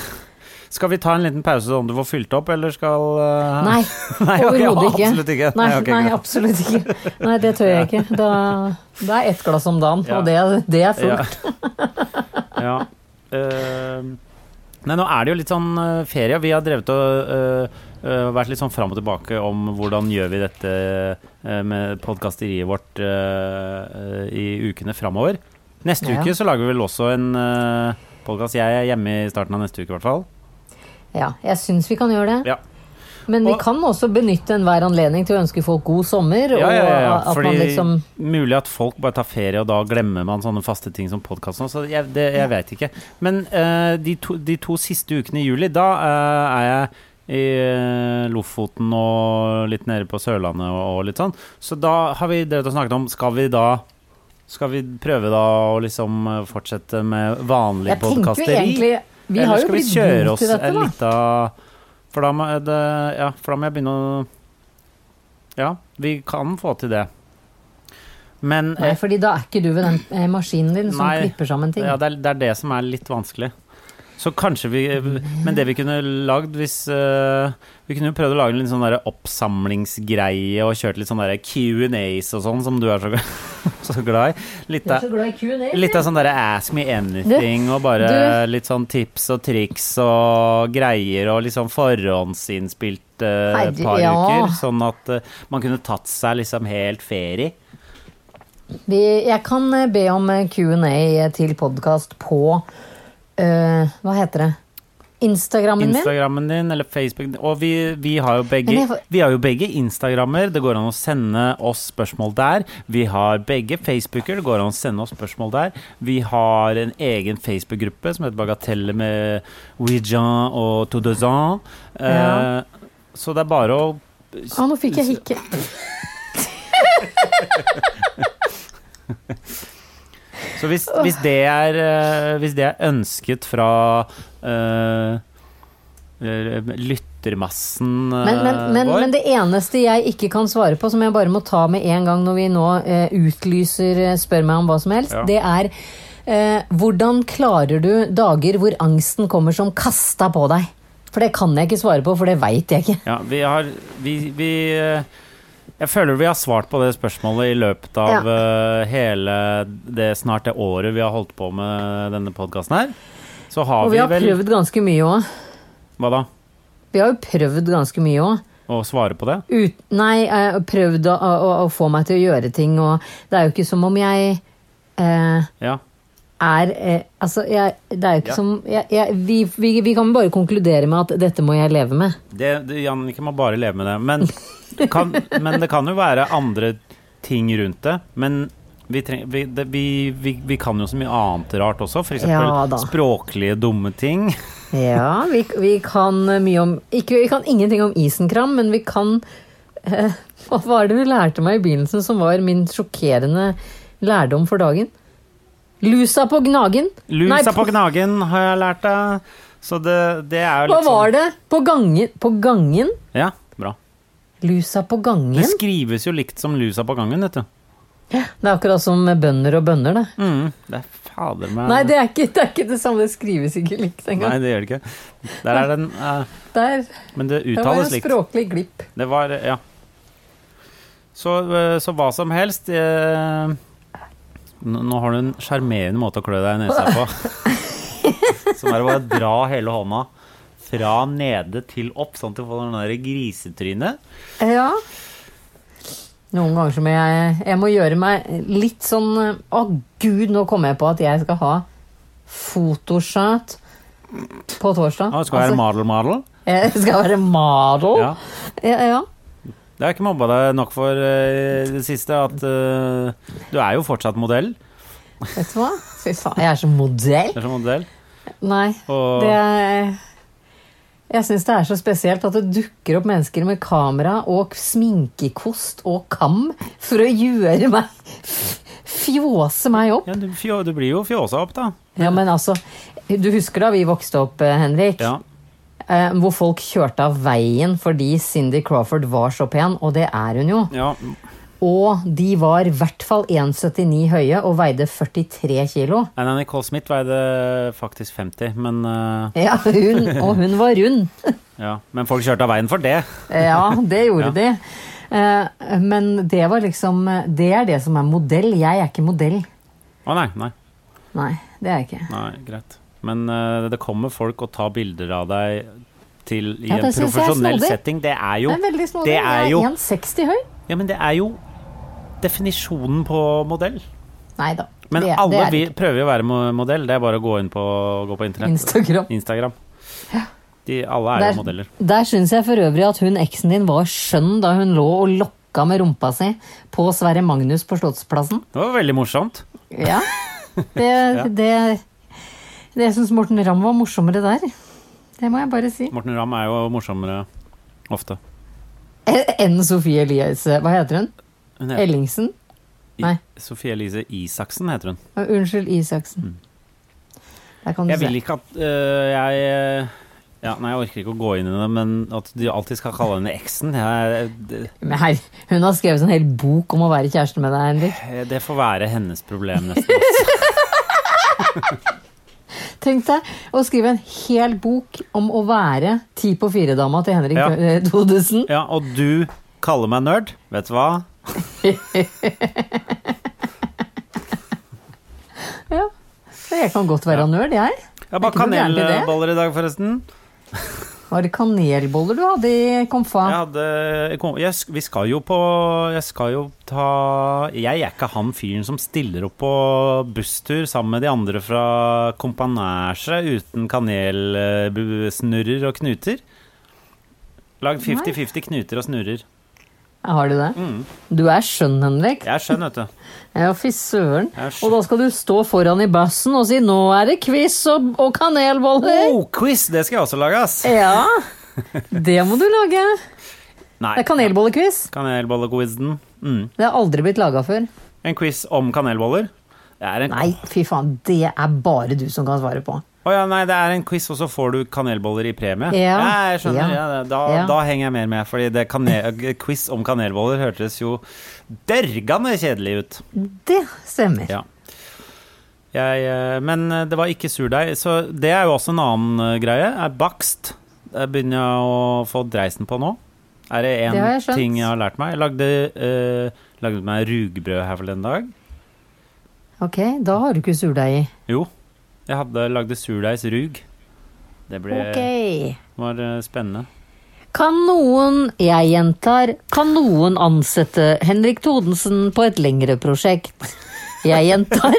Speaker 3: Skal vi ta en liten pause sånn du får fylt opp, eller skal eh,
Speaker 2: Nei,
Speaker 3: Nei, ok,
Speaker 2: overhodet ikke.
Speaker 3: absolutt ikke.
Speaker 2: Nei,
Speaker 3: Nei, ok,
Speaker 2: nei,
Speaker 3: greit.
Speaker 2: absolutt ikke. Nei, det tør jeg ikke. Da, det er ett glass om dagen,
Speaker 3: Ja.
Speaker 2: og det, det er fullt.
Speaker 3: Ja. ja. Eh, nei, nå er det jo litt sånn eh, ferie. Vi har drevet og eh, eh, vært litt sånn fram og tilbake om hvordan gjør vi dette eh, med podkasteriet vårt eh, eh, i ukene framover. Neste
Speaker 2: Ja.
Speaker 3: uke så lager vi vel også en eh, podkast. Jeg er hjemme i starten av neste uke, i hvert fall.
Speaker 2: Ja, jeg syns vi kan gjøre det.
Speaker 3: Ja.
Speaker 2: Men vi
Speaker 3: Og-
Speaker 2: kan også benytte enhver anledning til å ønske folk god sommer.
Speaker 3: Ja, ja, ja, ja.
Speaker 2: Og at
Speaker 3: Fordi
Speaker 2: man liksom
Speaker 3: Mulig at folk bare tar ferie, og da glemmer man sånne faste ting som podkast. Så jeg, det, jeg vet ikke. Men eh, de, to, de to siste ukene i juli, da eh, er jeg i eh, Lofoten og litt nede på Sørlandet og, og litt sånn. Så da har vi drevet og snakket om Skal vi da Skal vi prøve da å liksom eh, fortsette med vanlig
Speaker 2: Jeg tenker jo
Speaker 3: podkasteri?
Speaker 2: egentlig Vi har
Speaker 3: Eller
Speaker 2: jo
Speaker 3: skal vi
Speaker 2: blitt
Speaker 3: kjøre
Speaker 2: gode
Speaker 3: oss
Speaker 2: til dette,
Speaker 3: en
Speaker 2: da.
Speaker 3: lita For da må det Ja, for da må jeg begynne å Ja, vi kan få til det. Men
Speaker 2: Nei,
Speaker 3: eh,
Speaker 2: fordi da er ikke du ved den eh, maskinen din som
Speaker 3: Nei.
Speaker 2: klipper sammen ting.
Speaker 3: ja, det, er, det er det som er litt vanskelig. Så kanskje vi Men det vi kunne lagd hvis eh, Vi kunne jo prøvd å lage en litt sånn der oppsamlingsgreie og kjørt litt sånn der Q&As og sånn, som du er så, så glad i. Litt
Speaker 2: Jeg
Speaker 3: av
Speaker 2: er så glad i Q&A.
Speaker 3: Litt av sånn derre ask me anything, og bare litt sånn tips og triks og greier, og liksom forhåndsinnspilt eh,
Speaker 2: Herre-
Speaker 3: par
Speaker 2: ja.
Speaker 3: uker. Sånn at eh, man kunne tatt seg liksom helt ferie.
Speaker 2: Vi, jeg kan eh, be om eh, Q&A til podkast på eh, Hva heter det? Instagrammen min?
Speaker 3: Instagrammen din eller Facebook Og vi, vi, har jo
Speaker 2: Men
Speaker 3: begge,
Speaker 2: jeg får-
Speaker 3: vi har jo begge Instagrammer. Det går an å sende oss spørsmål der. Vi har begge Facebooker. Det går an å sende oss spørsmål der. Vi har en egen Facebook-gruppe som heter Bagatelle med Ouijan og Todezan.
Speaker 2: Ja.
Speaker 3: Eh, så det er bare å
Speaker 2: Å, nå fikk jeg hikke.
Speaker 3: Så hvis, hvis, det er, eh, hvis det er ønsket fra eh, eh, lyttermassen eh,
Speaker 2: Men, men, men,
Speaker 3: vår
Speaker 2: men det eneste jeg ikke kan svare på, som jeg bare må ta med en gang når vi nå eh, utlyser eh, spør meg om hva som helst,
Speaker 3: Ja.
Speaker 2: det er eh, hvordan klarer du dager hvor angsten kommer som kasta på deg? For det kan jeg ikke svare på, for det veit jeg ikke.
Speaker 3: ja, vi har, vi, vi, eh, Jeg føler vi har svart på det spørsmålet i løpet av eh, hele det snart det året vi har holdt på med denne podkasten her. Så har
Speaker 2: Og
Speaker 3: vi,
Speaker 2: vi har
Speaker 3: vel
Speaker 2: prøvd ganske mye òg.
Speaker 3: Hva da?
Speaker 2: Vi har jo prøvd ganske mye òg.
Speaker 3: Å svare på det?
Speaker 2: Ut, nei, jeg har prøvd å, å, å få meg til å gjøre ting, og det er jo ikke som om jeg eh,
Speaker 3: Ja.
Speaker 2: er eh, Altså, jeg, det er jo ikke
Speaker 3: Ja.
Speaker 2: som jeg, jeg, vi, vi, vi kan bare konkludere med at dette må jeg leve med.
Speaker 3: Det, det, Jannicke må bare leve med det. Men, du kan, men det kan jo være andre ting rundt det. Men vi, treng, vi, det, vi, vi, vi kan jo så mye annet rart også. F.eks.
Speaker 2: Ja da.
Speaker 3: eksempel språklige dumme ting.
Speaker 2: Ja, vi, vi kan eh, mye om ikke, Vi kan ingenting om isenkram, men vi kan eh, Hva var det du lærte meg i begynnelsen som var min sjokkerende lærdom for dagen? Lusa på gnagen? Nei,
Speaker 3: Lusa
Speaker 2: på-
Speaker 3: på gnagen har jeg lært deg. Så det, det er jo
Speaker 2: Hva
Speaker 3: litt
Speaker 2: var det? På gangen? På gangen?
Speaker 3: sånn Ja, bra.
Speaker 2: Lusa på gangen?
Speaker 3: Det skrives jo likt som lusa på gangen, vet du.
Speaker 2: Det er akkurat som med bønder og bønder, det.
Speaker 3: Mm, det er fader meg
Speaker 2: Nei, det er, ikke, det er ikke det samme. Det skrives ikke likt
Speaker 3: Nei,
Speaker 2: engang.
Speaker 3: det gjør det ikke. Der er den eh,
Speaker 2: Der,
Speaker 3: Men det
Speaker 2: der var
Speaker 3: uttales
Speaker 2: en
Speaker 3: likt.
Speaker 2: språklig glipp.
Speaker 3: Det var Ja. Så, eh, så hva som helst eh, Nå nå har du en sjarmerende måte å klø deg i nesa på. Som er å bare dra hele hånda fra nede til opp, sånn at du får den der grisetrynet.
Speaker 2: Ja. Noen ganger så må jeg Jeg må gjøre meg litt sånn Å, gud, nå kommer jeg på at jeg skal ha fotoshot på torsdag.
Speaker 3: Å, skal være
Speaker 2: Altså-
Speaker 3: madel-madel.
Speaker 2: jeg skal være model.
Speaker 3: Ja.
Speaker 2: Ja, ja.
Speaker 3: Det har jeg ikke mobba deg nok for eh, det siste, at eh, du er jo fortsatt modell.
Speaker 2: Vet du hva? Fy faen, jeg er så modell.
Speaker 3: Du er som modell.
Speaker 2: Nei.
Speaker 3: Og
Speaker 2: Det er, jeg syns det er så spesielt at det dukker opp mennesker med kamera og sminkekost og kam for å gjøre meg Fjåse meg opp.
Speaker 3: ja, du, fjå, du blir jo fjåsa opp, da.
Speaker 2: Ja, men altså Du husker da vi vokste opp, eh, Henrik?
Speaker 3: Ja.
Speaker 2: Eh, hvor folk kjørte av veien fordi Cindy Crawford var så pen, og det er hun jo.
Speaker 3: ja.
Speaker 2: Og de var i hvert fall 1,79 høye og veide 43 kilo.
Speaker 3: Nei, nei, Nicole Smith veide faktisk 50, men eh,
Speaker 2: Ja, hun, og hun var rund.
Speaker 3: Ja, men folk kjørte av veien for det.
Speaker 2: Ja, det gjorde
Speaker 3: Ja.
Speaker 2: de. Eh, Men det var liksom Det er det som er modell. Jeg er ikke modell.
Speaker 3: Å nei, nei,
Speaker 2: Nei, det er jeg ikke.
Speaker 3: nei, greit. Men eh, det kommer folk og tar bilder av deg til, i
Speaker 2: Ja,
Speaker 3: en
Speaker 2: det synes jeg er
Speaker 3: profesjonell
Speaker 2: snodig.
Speaker 3: setting. Det er jo
Speaker 2: Det er veldig snodig.
Speaker 3: det
Speaker 2: Jeg
Speaker 3: er
Speaker 2: er
Speaker 3: jo
Speaker 2: 1,60 høy.
Speaker 3: Ja, men det er jo definisjonen på modell.
Speaker 2: Nei da.
Speaker 3: Men
Speaker 2: Det- det
Speaker 3: alle
Speaker 2: er det
Speaker 3: vi
Speaker 2: ikke.
Speaker 3: prøver jo å være mo- modell. Det er bare å gå inn på, gå på internett.
Speaker 2: Instagram.
Speaker 3: Instagram. De, alle er jo
Speaker 2: Der,
Speaker 3: modeller.
Speaker 2: der syns jeg for øvrig at hun eksen din var skjønn da hun lå og lokka med rumpa si på Sverre Magnus på Slottsplassen.
Speaker 3: Det var veldig morsomt.
Speaker 2: Ja. Det, det, det Jeg syns Morten Ramm var morsommere der. Det må jeg bare si.
Speaker 3: Morten Ramm er jo morsommere ofte.
Speaker 2: Eh, Enn Sofie Eliase. Hva heter hun?
Speaker 3: Hun heter
Speaker 2: Ellingsen? Nei,
Speaker 3: Sofie Elise Isaksen, heter hun.
Speaker 2: å, unnskyld, Isaksen. Der kan du
Speaker 3: Mm. Jeg vil
Speaker 2: se.
Speaker 3: ikke at øh, jeg øh, ja, Nei, jeg orker ikke å gå inn i det, men at de alltid skal kalle henne eksen, jeg, det,
Speaker 2: Men her, hun har skrevet en hel bok om å være kjæreste med deg, Henrik.
Speaker 3: det får være hennes problem nesten. altså.
Speaker 2: Tenk deg å skrive en hel bok om å være ti på fire-dama til Henrik
Speaker 3: Ja.
Speaker 2: Tho- Thodesen.
Speaker 3: Ja, og du kaller meg nerd. Vet du hva?
Speaker 2: Jeg kan godt være nerd, jeg.
Speaker 3: Jeg har bare
Speaker 2: ikke noe gærent i det.
Speaker 3: kanelboller i dag, forresten.
Speaker 2: Var det kanelboller du hadde i komfa?
Speaker 3: Jeg hadde jeg kom, jeg, sk- Vi skal jo på Jeg skal jo ta Jeg er ikke han fyren som stiller opp på busstur sammen med de andre fra kompanasje uten kanelsnurrer og knuter. Lagd 50-50 knuter og snurrer.
Speaker 2: Har du det?
Speaker 3: Mm.
Speaker 2: Du er skjønn, Henrik.
Speaker 3: Jeg er skjønn, vet du.
Speaker 2: Ja, fy søren.
Speaker 3: Jeg er skjønn.
Speaker 2: Og da skal du stå foran i bassen og si 'nå er det quiz og, og kanelboller'.
Speaker 3: Oh, quiz! Det skal jeg også lage, ass.
Speaker 2: Ja. Det må du lage.
Speaker 3: Nei.
Speaker 2: Det er kanelbollequiz.
Speaker 3: Kanelbollequizen. Mm.
Speaker 2: Det har aldri blitt laga før.
Speaker 3: En quiz om kanelboller. Det er en
Speaker 2: Nei, fy faen. Det er bare du som kan svare på.
Speaker 3: Å ja, nei, det er en quiz, og så får du kanelboller i premie?
Speaker 2: Ja.
Speaker 3: jeg skjønner. Ja.
Speaker 2: Ja.
Speaker 3: da,
Speaker 2: Ja.
Speaker 3: da henger jeg mer med, fordi det kane- quiz om kanelboller hørtes jo dørgende kjedelig ut.
Speaker 2: Det stemmer.
Speaker 3: Ja. Jeg, eh, men det var ikke surdeig, så det er jo også en annen eh, greie. Er bakst. Det begynner jeg å få dreisen på nå. Er det
Speaker 2: Det har jeg
Speaker 3: én
Speaker 2: skjønt.
Speaker 3: ting jeg har lært meg? Jeg lagde, eh, lagde meg rugbrød her for den dag.
Speaker 2: Ok, da har du ikke surdeig i.
Speaker 3: Jo, jeg hadde lagde surdeigsrug. Det ble,
Speaker 2: Ok.
Speaker 3: var eh, spennende.
Speaker 2: Kan noen, jeg gjentar, kan noen ansette Henrik Thodensen på et lengre prosjekt? Jeg gjentar,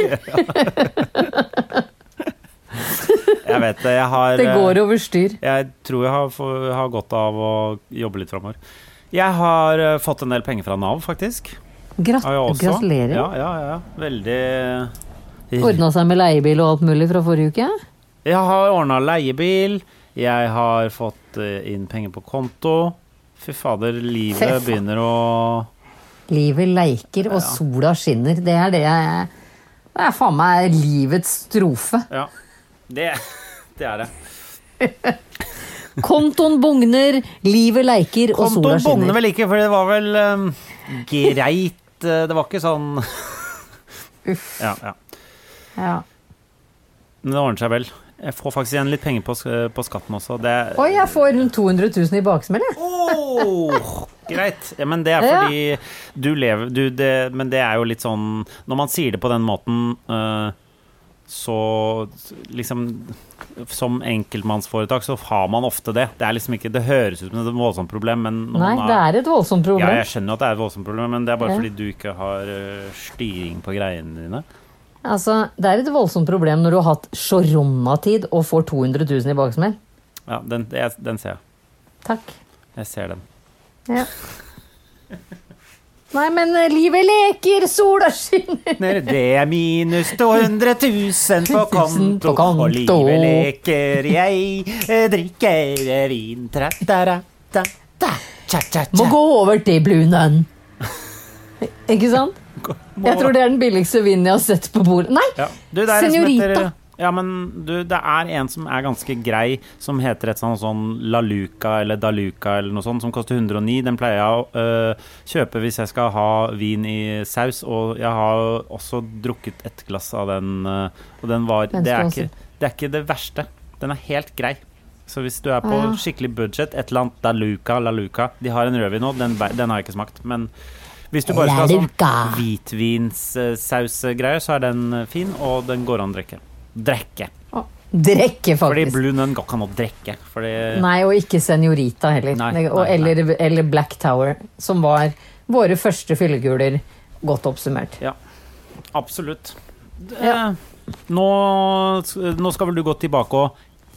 Speaker 3: Jeg vet det. Jeg har eh,
Speaker 2: det går over styr.
Speaker 3: Jeg tror jeg har, få- har godt av å jobbe litt framover. Jeg har eh, fått en del penger fra Nav, faktisk.
Speaker 2: Grat
Speaker 3: Har jeg også.
Speaker 2: gratulerer.
Speaker 3: Ja, ja, ja. Veldig
Speaker 2: Ordna seg med leiebil og alt mulig fra forrige uke?
Speaker 3: Jeg har ordna leiebil. Jeg har fått eh, inn penger på konto. Fy fader, livet
Speaker 2: Fy faen.
Speaker 3: begynner å
Speaker 2: Livet leiker, og sola skinner. Det er det jeg Det er faen meg livets strofe.
Speaker 3: Ja. Det, det er det.
Speaker 2: Kontoen bugner, livet leiker, og sola
Speaker 3: Kontoen bugner
Speaker 2: skinner.
Speaker 3: vel ikke, for det var vel eh, greit. eh, Det var ikke sånn
Speaker 2: Uff.
Speaker 3: Ja, ja.
Speaker 2: Ja.
Speaker 3: Men det ordner seg vel. Jeg får faktisk igjen litt penger på, sk- på skatten også. Det
Speaker 2: Oi, jeg får rundt 200 000 i baksmell, jeg.
Speaker 3: Åh, greit. Ja, men det er
Speaker 2: Ja.
Speaker 3: fordi du lever du, det, Men det er jo litt sånn Når man sier det på den måten, eh, så liksom Som enkeltmannsforetak så har man ofte det. Det er liksom ikke Det høres ut som et voldsomt problem, men når
Speaker 2: Nei,
Speaker 3: man
Speaker 2: det er et voldsomt
Speaker 3: ja,
Speaker 2: problem.
Speaker 3: jeg skjønner at det er et voldsomt problem, men det er bare
Speaker 2: Ja.
Speaker 3: fordi du ikke har eh, styring på greiene dine.
Speaker 2: Altså, Det er et voldsomt problem når du har hatt sjoronatid og får 200 000 i baksmell.
Speaker 3: Ja, den, det- jeg, den ser jeg.
Speaker 2: Takk.
Speaker 3: Jeg ser den.
Speaker 2: Ja. Nei, men eh, livet leker, sola skinner
Speaker 3: Når det er minus 200 000 på
Speaker 2: Tusen
Speaker 3: konto,
Speaker 2: på konto.
Speaker 3: og livet leker jeg, eh, drikker vin tra, da, ra, da, da, tja, tja,
Speaker 2: Må
Speaker 3: tja.
Speaker 2: gå over til Blue Nun. Ikke sant? Jeg tror det er den billigste vinen jeg har sett på bordet. Nei!
Speaker 3: ja. du, det er en som
Speaker 2: Senorita.
Speaker 3: Heter, eh, ja, men du, det er en som er ganske grei, som heter et sånn, sånn La Luca eller Daluca eller noe sånt, som koster 109. Den pleier jeg å øh, kjøpe hvis jeg skal ha vin i saus, og jeg har også drukket et glass av den, øh, og den var
Speaker 2: Den
Speaker 3: det er,
Speaker 2: skal
Speaker 3: ikke, det er ikke det verste. Den er helt grei. Så hvis du er på
Speaker 2: Ah, ja.
Speaker 3: skikkelig budget, et eller annet Daluca, La Luca De har en rødvin nå, den, bæ- den har jeg ikke smakt, men hvis du bare
Speaker 2: La
Speaker 3: skal ha
Speaker 2: Luca.
Speaker 3: sånn hvitvinssausgreier, så er den eh, fin, og den går an å drikke. Drekke.
Speaker 2: Å, Drekke,
Speaker 3: Fordi
Speaker 2: faktisk.
Speaker 3: Blue Nun går ikke an å drikke. Fordi
Speaker 2: Nei, og ikke Senorita heller.
Speaker 3: Nei,
Speaker 2: Det- og,
Speaker 3: nei, nei.
Speaker 2: Eller, eller Black Tower, som var våre første fyllekuler, godt oppsummert.
Speaker 3: Ja, absolutt.
Speaker 2: Ja.
Speaker 3: eh, nå, nå skal vel du gå tilbake og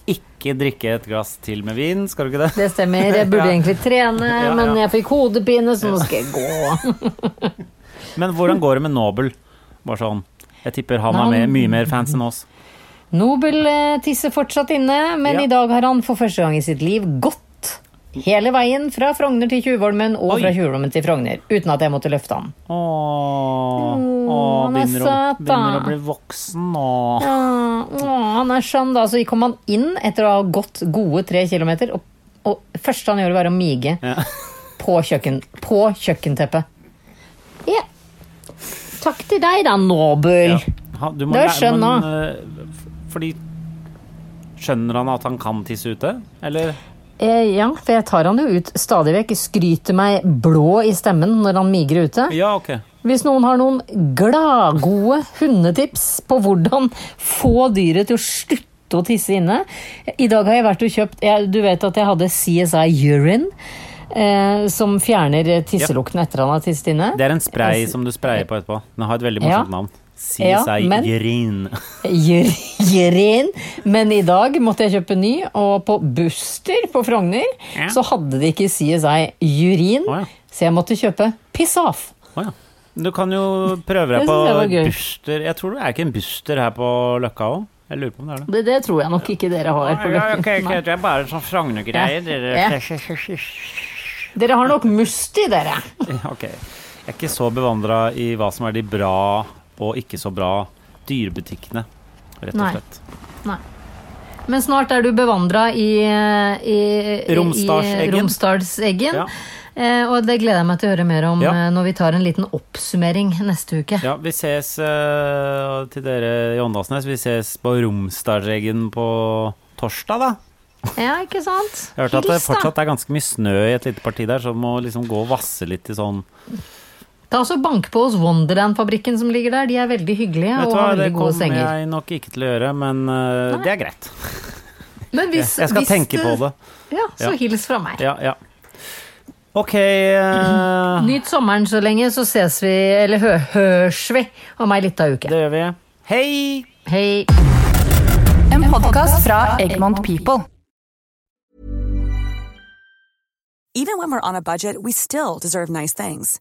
Speaker 3: ikke drikke et glass til med vin, skal du ikke det?
Speaker 2: Det stemmer. Jeg burde
Speaker 3: Ja.
Speaker 2: egentlig trene,
Speaker 3: Ja,
Speaker 2: men
Speaker 3: ja.
Speaker 2: jeg fikk hodepine, så nå skal jeg gå.
Speaker 3: Men hvordan går det med Nobel? Bare sånn. Jeg tipper han er
Speaker 2: Nei,
Speaker 3: mer- mye mer fans enn oss.
Speaker 2: Nobel eh, tisser fortsatt inne, men
Speaker 3: Ja.
Speaker 2: i dag har han for første gang i sitt liv gått hele veien fra Frogner til Tjuvholmen og
Speaker 3: Oi.
Speaker 2: fra Tjuvholmen til Frogner, uten at jeg måtte løfte han.
Speaker 3: Åh,
Speaker 2: Mm,
Speaker 3: åh,
Speaker 2: han er
Speaker 3: begynner, å,
Speaker 2: søt, da.
Speaker 3: begynner å bli voksen nå.
Speaker 2: Ah, åh, han er sånn, da. Så kom han inn etter å ha gått gode tre kilometer, og, og første han gjorde, var å mige
Speaker 3: Ja.
Speaker 2: på, kjøkken, på kjøkkenteppet. Ja. Takk til deg, da, Nobel.
Speaker 3: Ja. Han- Du må
Speaker 2: Det er
Speaker 3: lære-
Speaker 2: skjønn
Speaker 3: men,
Speaker 2: nå.
Speaker 3: eh, f- Fordi Skjønner han at han kan tisse ute? Eller?
Speaker 2: Eh, ja, for jeg tar han jo ut stadig vekk. Skryter meg blå i stemmen når han migrer ute.
Speaker 3: Ja, ok.
Speaker 2: Hvis noen har noen gladgode hundetips på hvordan få dyret til å slutte å tisse inne I dag har jeg vært og kjøpt jeg, Du vet at jeg hadde CSI Urine, eh, som fjerner eh, tisselukten etter han har tisset inne.
Speaker 3: Det er en spray som du sprayer på etterpå. Den har et veldig
Speaker 2: Ja.
Speaker 3: morsomt navn. CSI
Speaker 2: Ja, men-
Speaker 3: Grin.
Speaker 2: Jerin. Men i dag måtte jeg kjøpe ny, og på Buster på Frogner
Speaker 3: Ja.
Speaker 2: så hadde de ikke CSI Urin,
Speaker 3: Å, ja.
Speaker 2: så jeg måtte kjøpe Piss Off.
Speaker 3: Å ja. Du kan jo prøve deg
Speaker 2: Det
Speaker 3: på
Speaker 2: synes jeg var gøy.
Speaker 3: Buster. Jeg tror det er ikke en Buster her på Løkka òg. Jeg lurer på om det er det.
Speaker 2: Det, det tror jeg nok ikke dere har. på Løkken. Nei.
Speaker 3: Det er bare sånn Frogner-greier.
Speaker 2: Ja. Dere har nok Musti, dere.
Speaker 3: Ok. Jeg er ikke så bevandra i hva som er de bra og ikke så bra dyrebutikkene, rett og
Speaker 2: Nei.
Speaker 3: slett.
Speaker 2: Men snart er du bevandra i, eh, i, i
Speaker 3: Romsdalseggen.
Speaker 2: Romsdalseggen.
Speaker 3: Ja.
Speaker 2: Eh, og det gleder jeg meg til å høre mer om
Speaker 3: Ja.
Speaker 2: eh, når vi tar en liten oppsummering neste uke.
Speaker 3: Ja, vi ses eh, til dere i Åndalsnes. Vi ses på Romsdalseggen på torsdag, da.
Speaker 2: Ja, ikke sant?
Speaker 3: Jeg hørte at det
Speaker 2: Hils, da.
Speaker 3: fortsatt er ganske mye snø i et lite parti der, så må liksom gå og vasse litt i sånn
Speaker 2: Ta også Bank på hos Wonderland-fabrikken som ligger der. De er veldig hyggelige
Speaker 3: Vet du
Speaker 2: og
Speaker 3: hva,
Speaker 2: har
Speaker 3: det
Speaker 2: veldig gode
Speaker 3: kommer
Speaker 2: senger.
Speaker 3: jeg nok ikke til å gjøre, men eh, det er greit.
Speaker 2: Men
Speaker 3: Jeg
Speaker 2: hvis,
Speaker 3: skal
Speaker 2: hvis,
Speaker 3: tenke på det.
Speaker 2: Ja, så
Speaker 3: Ja.
Speaker 2: hils fra meg.
Speaker 3: Ja, ja. Ok eh,
Speaker 2: Nyt sommeren så lenge, så ses vi, eller hø hørs vi, om ei lita uke.
Speaker 3: Det gjør vi. Hei!
Speaker 2: Hei!
Speaker 6: En podkast fra Egmont People.
Speaker 7: Even when we're on a budget, we still deserve nice things.